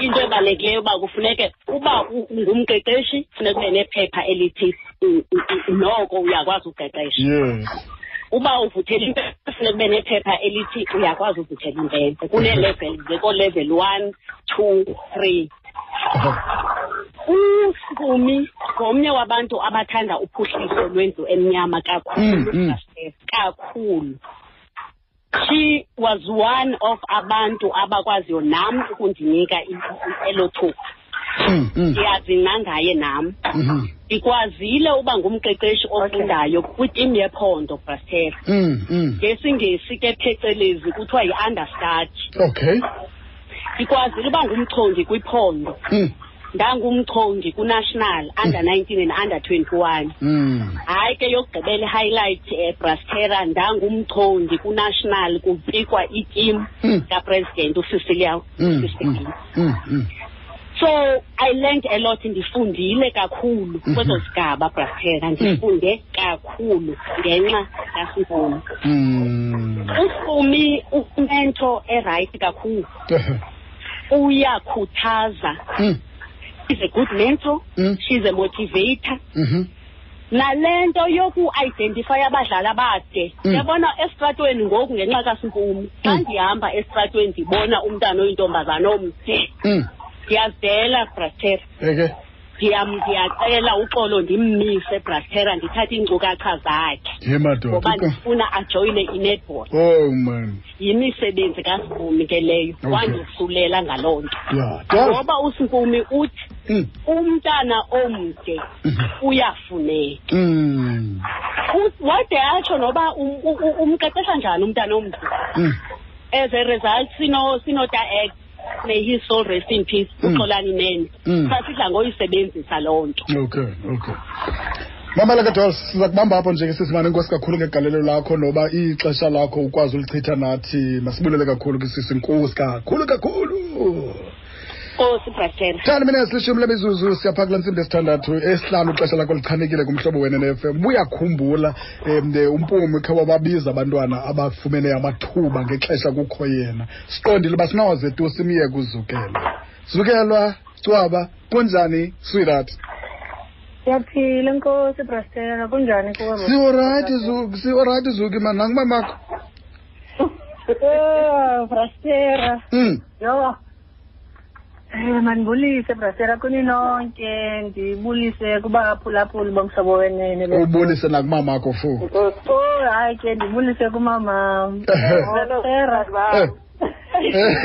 S4: into ebalulekileyo uba kufuneke uba u- ungumqeqeshi funeka ube nephepha elithi u- u- u- noko uyakwazi uqeqesha
S1: Yes.
S4: uba uvuthela impempe funeka ube nephepha elithi uyakwazi uvuthela impempe kunee-level zeko-level one two three uSumi ngomnye wabantu abathanda uphuhliso lwendlu emnyama kakhulu
S1: Mm, mm.
S4: Pastor, kakhulu she was one of abantu abakwaziyo nam ukundinika i- i- elo thuba
S1: Mm, mm,
S4: ndiyazingca ngaye nam
S1: mhm.
S4: ndikwazile uba ngumqeqeshi ofundayo kwitim yephondo brastela
S1: Mm, mm.
S4: ngesingesi ke phecelezi kuthiwa yi-understat
S1: Okay.
S4: ndikwazile uba ngumchongi kwiphondo
S1: Mm,
S4: ndangumchongi kunational under 19 and under 21
S1: mm.
S4: hayi ke yokugqibela i-highlight um brastera ndangumchongi kunational kupikwa itim
S1: Mm.
S4: kapresident ucicilia
S1: Mm,
S4: Cicely.
S1: mm, mm, mm.
S4: so i learned a lot ndifundile kakhulu kweso sigaba brasphela ndifunde kakhulu ngenxa kasibuni
S1: Mm.
S4: usibumi umento erayithi kakhulu uyakhuthaza
S1: Mm.
S4: she's a good mentor
S1: Mm.
S4: she's a motivator
S1: Mhm.
S4: nale nto yoku-identifya abadlali abade
S1: Mm.
S4: uyabona esitratweni ngoku ngenxa kasimpumi xa
S1: Mm.
S4: ndihamba esitratweni ndibona umntana oyintombazana omde
S1: Mm.
S4: ndiyazela brastera
S1: Eke.
S4: ndiyam ndiyacela uxolo ndimmise brastera ndithathe iinkcukacha zakhe
S1: Ye
S4: ngoba
S1: madoda. uqa-
S4: ndifuna ajoyine inetball
S1: Oh man.
S4: yimisebenzi kaSimpumi ke leyo
S1: Okay.
S4: wandihlulela ngaloo nto
S1: Yeah. Yeah.
S4: ngoba usimpumi uthi
S1: Mm.
S4: umntana omde
S1: Mhm.
S4: uyafuneka
S1: Mm.
S4: U- wade atsho noba um- u- u- umqeqesha njani umntana omntu
S1: Mm.
S4: as a result sino- sinota act may his soul rest in peace
S1: Mm.
S4: uxolani nene
S1: Mm.
S4: sasidla ngoyisebenzisa loo nto
S1: Okay, okay. Mamela ke Dolls, siza kubamba apho nje ke sisimane inkosi kakhulu ngegalelo lakho noba ixesha lakho ukwazi ulichitha nathi. Masibulele kakhulu ke sisi inkosi kakhulu kakhulu.
S4: kosi brastera
S1: Thandi mina silishumi lemizuzu siyapha kule ntsimbi esithandathu esihlanu ixesha lakho lichanekile kumhlobo wena ne-FM. Buyakhumbula um umpumi khe wababiza abantwana abafumene amathuba ngexesha kukho yena. Siqondile uba sinawaze tu simye kuzukela. Zukelwa, cwaba, kunjani, sweetheart?
S3: siyaphila nkosi brastela kunjani kuwe bro?
S1: siorayiti zuki siorayiti zuki mani nangumamakho
S3: Eh, brastela
S1: um
S3: yo um mandibulise brastela kuni nonke ndibulise kubaphulaphuli bomhlobo wenene be-
S1: ubulise nakumamakho fo
S3: oh hayi ke ndibulise kumamam brastela
S1: Eh,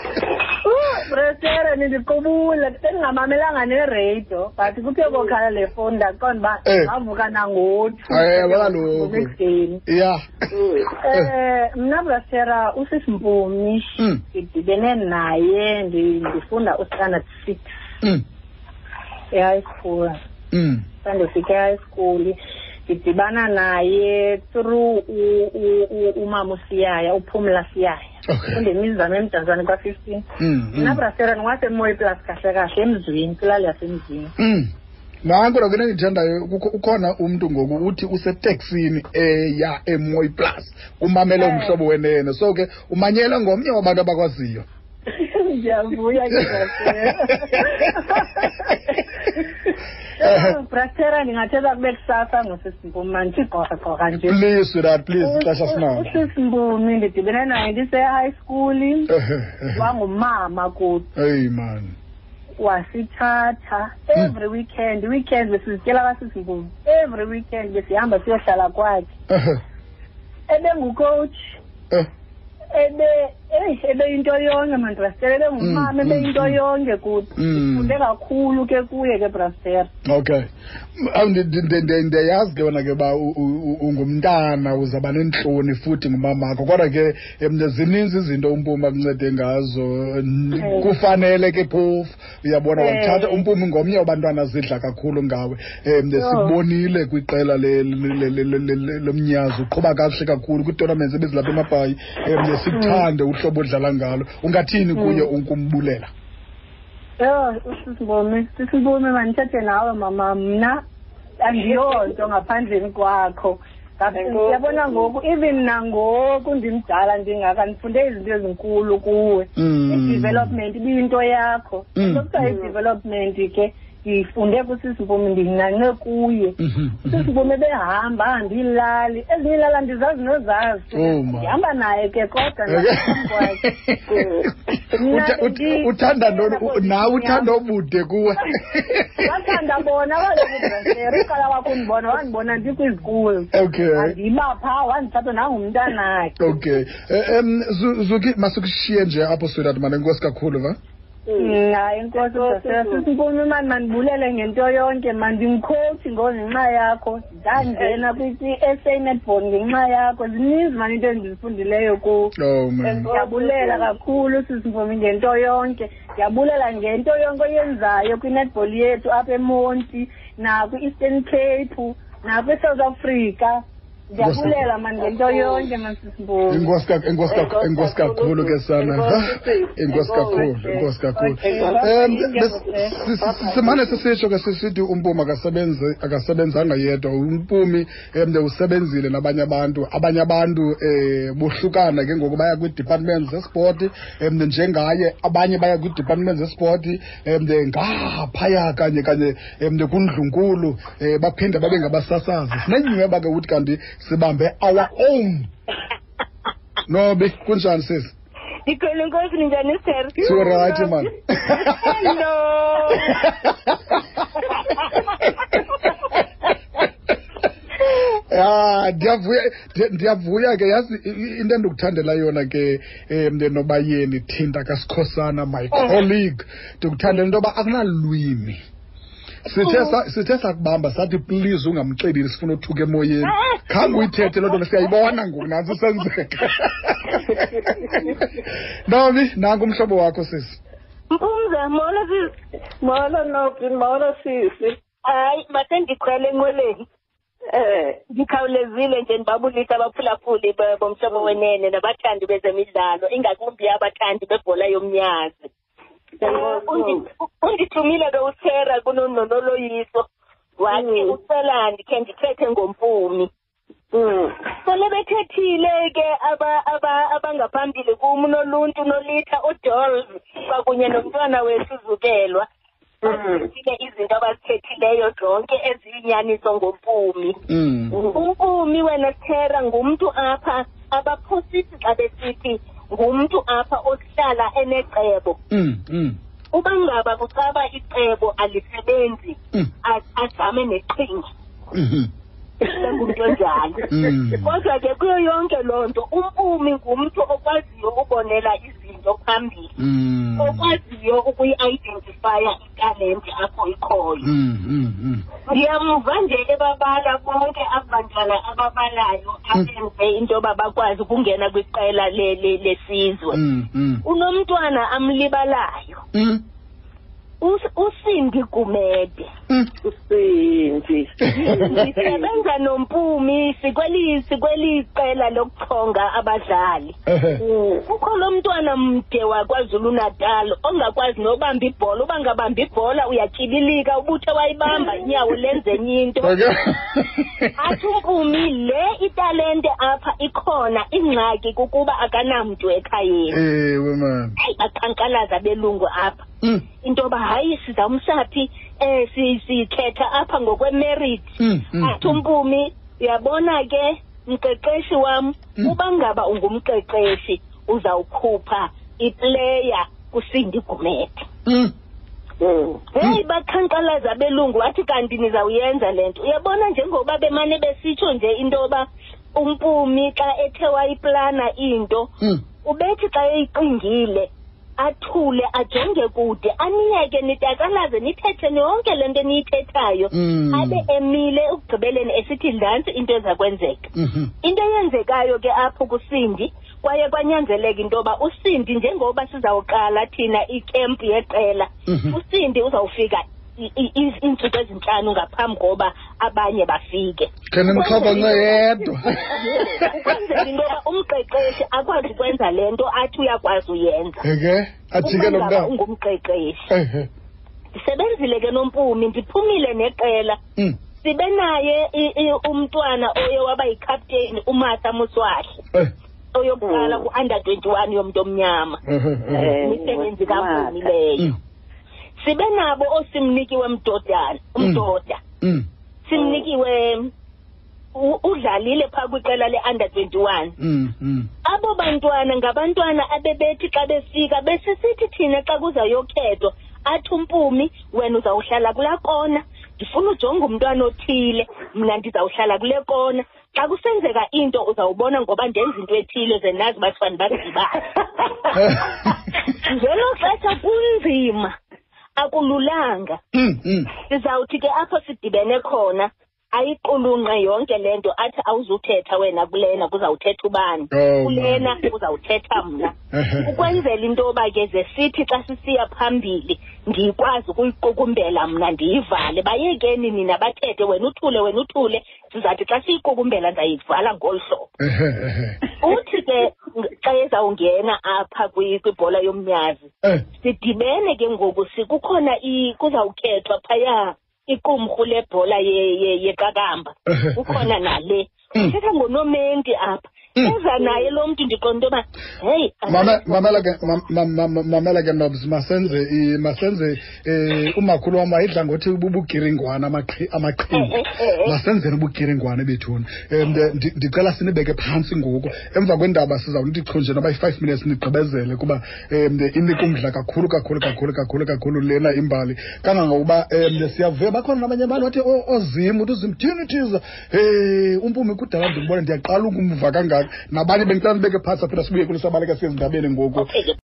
S3: Oh, brastela nindiqubula ndingamamelanga nereyido but kuthe kokhala le fowuni ndaqonda
S1: Eh.
S3: uba wavuka nangotu
S1: Eh, yabo kaloku.
S3: ekuseni
S1: ya
S2: Mm.
S3: Eh mna brasera usisimpumi
S1: Mm.
S3: ndidibene naye ndi- ndifunda ustandard six
S1: Hmm,
S3: e-high school
S1: um
S3: sandofika e-high school ndidibana naye through u- u- u- umama usiyaya uphumla siyaya
S1: okay Hmm,
S3: undemizamo emdantsane kwa-fifteen
S1: Mm-hmm.
S3: mna brasera ndingasemoya plus kahle kahle emzwini kwilali yasemzwini
S1: um nanko lako into endiyithandayo kukho- ukhona umntu ngoku uthi useteksini eya emoy plus umamele umhlobo wenene so ke umanyelwe ngomnye wabantu abakwaziyo
S3: ndiyavuya ke brastera brastera ndingathetha kube kusasa ngosisimpumi mandithigokoka nje
S1: please sweetheart
S3: Oh,
S1: please ixesha sinalo
S3: usisimpumi ndidibene naye ndise-high school wangumama kuthi
S1: Eh, hey man
S3: wasithatha every weekend weekend besizityela abasisimpumi every weekend besihamba siyohlala kwakhe
S1: Eh,
S3: ebengucoach ebe eyi ebeyinto yonke mandrastera
S1: Mm,
S3: ebengumama ebeyinto
S1: mm, mm.
S3: yonke kuthi
S1: Mm.
S3: funde kakhulu ke kuye ke brastera
S1: Okay. Aw, ndi- ndi- ndi- ndi- Ndiyazi ke wena ke ba u- u- u- ungumntana uzaba nentloni futhi ngumamakho kodwa ke em, zininzi izinto umpumi akuncede ngazo N-
S3: Eh.
S1: kufanele ke phofu uyabona
S3: Eh.
S1: wamthatha umpumi ngomnye wabantwana zidla kakhulu ngawe um
S3: Yho.
S1: sikubonile kwiqela le- le- le- le- le- le- lomnyazi uqhuba kakuhle kakhulu kwii-tournaments ebezilapha emabhayi um sikuthande uhlobo odlala ngalo ungathini kuye unkumbulela
S3: yho usisibomi sisibomi mandithethe nawe mama mna andiyonto ngaphandleni kwakho ndiyabona ngoku even nangoku ndimdala ndingaka ndifunde izinto ezinkulu kuwe
S1: Mm.
S3: i-development ibiyinto yakho
S1: Mm.
S3: into kuthiwa i-development ke ndifunde kusisimpumi ndinanqe kuye
S1: Mhm, mhm.
S3: sisibume behamba ahambe iilali ezinye iilali andizazi nozazi
S1: Oh, ma.
S3: ndihamba naye ke kodwa ndihamba kwakhe
S1: Utha- utha- uthanda ntoni u- nawe uthanda obude kuwe
S3: bathanda bona balokubresera uqala wakundibona wandibona ndikwizikulu
S1: okay
S3: andiba phaa wandithatha nangumntanakhe
S1: okay Eh, em Zu- zuki masikushiye nje apho sweetheart mane inkosi kakhulu va
S3: hayi inkosi brasera sisimpumi mani mandibulele ngento yonke mandimkhothi ngenxa yakho ndangena kwi-sa netball ngenxa yakho zininzi mani into endizifundileyo kuwo
S1: oh man
S3: ndiyabulela kakhulu sisimvumi ngento yonke ndiyabulela ngento yonke oyenzayo kwinetball yethu apha emonti nakwi-eastern cape nakwesouth africa
S5: ndiyabulela mani ngento yonke masisimpumi
S1: inkosi kak- inkosi kak- inkosi kakhulu ke sana Ah, inkosi kakhulu inkosi kakhulu um simane sisitsho ke sisithi umpumi akasebenzi- akasebenzanga yedwa umpumi um usebenzile nabanye abantu abanye abantu um bohlukana ke ngoku baya kwii-department zesport um njengaye abanye baya kwii-department zesport um ngaphaya kanye kanye um kundlunkulu um baphinde babe ngabasasazi sinenyhweba ke ukuthi kanti sibambe our own nobe kunjani sisi
S6: ndikhona inkosi ninjani sir
S1: siwurayithi mani
S6: no
S1: ya Ah, ndiyavuya ndiya- ndiyavuya ke yazi i- i- into endikuthandela yona ke um nobayeni thinta kasikhosana my colleague ndikuthandela into yoba akunalwimi sithe sa- sithe sakubamba sathi please ungamxeleli sifuna othuka emoyeni khange uyithethe loo nto le, siyayibona ngoku nantsi isenzeka nomi nanku umhlobo wakho sisi
S6: mpumza molo sisi
S5: molo nobin molo sisi
S6: hayi mase ndikhwele enqweleni
S5: um
S6: ndikhawulezile nje ndibabulisa abaphulaphuli be- bomhlobo wenene nabathandi bezemidlalo ingakumbi abathandi bebhola yomnyazi Eh, undi- u- undithumile ke uthera kunonoloyiso wathi
S5: Mm.
S6: ucela ndikhe ndithethe ngompumi
S2: Mm.
S6: sele bethethile ke aba- aba- abangaphambili kum unoluntu unolitha udols kwakunye nomntwana wethuzukelwa bazithile izinto abazithethileyo zonke eziyinyaniso ngompumi
S1: mm.
S6: umpumi wena thera ngumntu apha abaphosisi xa besithi ngumntu apha ohlala enecebo
S1: Mm, mm,
S6: uba ngaba kucaba icebo alisebenzi
S1: mm,
S6: a- ajame neqhinga
S1: mhm,
S6: engumntu onjalo
S1: mm.
S6: kodwa ke kuyo yonke loo nto umpumi ngumntu okwaziyo ubonela izinto phambili
S1: Mm.
S6: okwaziyo ukuyi-identifya italente apho ikhoyo
S1: Mm, mm, mm.
S6: ndiyamva nje ebabala bonke abantwana ababalayo
S1: Mm.
S6: abenze into yoba bakwazi ukungena kwiqela le- le- lesizwe
S1: Mm, mm,
S6: unomntwana amlibalayo
S1: mm,
S6: Us- usindi gumede
S1: mm.
S5: usindi
S6: ndisebenza nompumi sikweli sikweli qela lokuchonga abadlali
S1: Ehe.
S6: kukho lo mntwana mde wakwazulu natal ongakwazi nobamba ibhola uba ngabamba ibhola uyatyibilika ubuthe wayibamba inyawo lenze enye into
S1: Okay.
S6: athi umpumi le italente apha ikhona ingxaki kukuba akanamntu ekhayeni
S1: ewe mani
S6: hayi baqhankqalaza belungu apha
S1: Mm,
S6: into yoba hayi sizawumsa phi um sikhetha apha ngokwemerit
S1: mm, mm,
S6: athi umpumi uyabona ke mqeqeshi wam
S1: Mm.
S6: uba ngaba ungumqeqeshi uzawukhupha ipleya kusindi gumede
S1: mm.
S6: heyi baqhankqalaza belungu wathi kanti nizawuyenza le nto uyabona njengoba bemane besitsho nje into yoba umpumi xa ethe wayiplana into
S1: Mm,
S6: ubethi xa eyiqingile athule ajonge kude aniyeke nitakalaze nithethe yonke le nto eniyithethayo
S1: mm.
S6: abe emile ekugqibeleni esithi ndantsi into ezakwenzeka
S1: Mhm.
S6: into eyenzekayo ke apho kusindi kwaye kwanyanzeleka into yoba usindi njengoba sizawuqala thina ikempu yeqela
S1: Mhm.
S6: usindi uzawufika i- i- i- iintsuku ezintlanu ngaphambi koba abanye bafike
S1: khe nimxhapha nxa yedwa
S6: kwenzela into yoba umqeqeshi akwazi ukwenza le nto athi uyakwazi uyenza
S1: eke ajike lo
S6: Uma
S1: mntana
S6: ngaba ungumqeqeshi
S1: Ehe.
S6: ndisebenzile ke nompumi ndiphumile neqela
S1: Mm,
S6: sibe naye i- i- umntwana oye waba yikapteni umartha muswahle
S1: eh,
S6: oyokuqala
S5: Mm.
S6: ku-under 21 yomntu omnyama
S1: ehe, ehe.
S6: misebenzi kampumi leyo
S1: Mm,
S6: sibe nabo osimnikiwe mdodana umdoda
S1: mm,
S6: simnikiwe u- udlalile phaa kwiqela le-under 21
S1: mm, mm.
S6: abo bantwana ngabantwana abebethi xa befika besisithi thina xa kuzayokhethwa athi umpumi wena uzawuhlala kulaa kona ndifuna ujonge umntwana othile mna ndizawuhlala kule kona xa kusenzeka into uzawubona ngoba ndenza into ethile ze nazi uba sifani bazidibane ngelo xesha kunzima akululanga
S1: Mm, mm.
S6: sizawuthi ke apho sidibene khona ayiqulunqe yonke le nto athi awuzuthetha wena kulena kuzawuthetha ubani
S1: Oh,
S6: kulena kuzawuthetha mna ukwenzela into yoba ke ze sithi xa sisiya phambili ndikwazi ukuyiqukumbela mna ndiyivale bayekeni nina bathethe wena uthule wena uthule sizathi xa siyiqukumbela ndayivala ngolu hlobo
S1: Ehe, ehe.
S6: uthi ke xa ezawungena apha kwi- kwibhola yomnyazi
S1: Eh,
S6: sidibene ke ngoku sikukhona i- kuzawukhethwa phaya iqumrhu lebhola ye- ye- yeqakamba
S1: ehe,
S6: kukhona nale
S1: Mm.
S6: uthetha ngonomenti apha
S1: Mm.
S6: eza naye lo mntu ndiqonda into yoba heyi
S1: Mame- mamela ke ma- ma- ma- ma- mamela ke nobs masenze i- masenze eh, umakhulu wam wayidla ngothi bubugiringwana amaqhi- amaqhinga
S6: Eh, eh, eh.
S1: masenzeni ubugiringwana bethuna um ndi- ndicela sinibeke phantsi ngoku emva kwendaba sizawunithi chu nje noba i-five minutes ndigqibezele kuba um inika umdla kakhulu kakhulu kakhulu kakhulu kakhulu lena imbali kangangokuba um siyavuya bakhona nabanye abantu bathi "Oh, ozim uthi uzim thini thiza um umpumi kudala ndimbona ndiyaqala ukumva kangaka nabanye bendicela nibeke phantsi aphinda sibuye kulisabaleka siye ezindabeni ngoku
S6: okay ke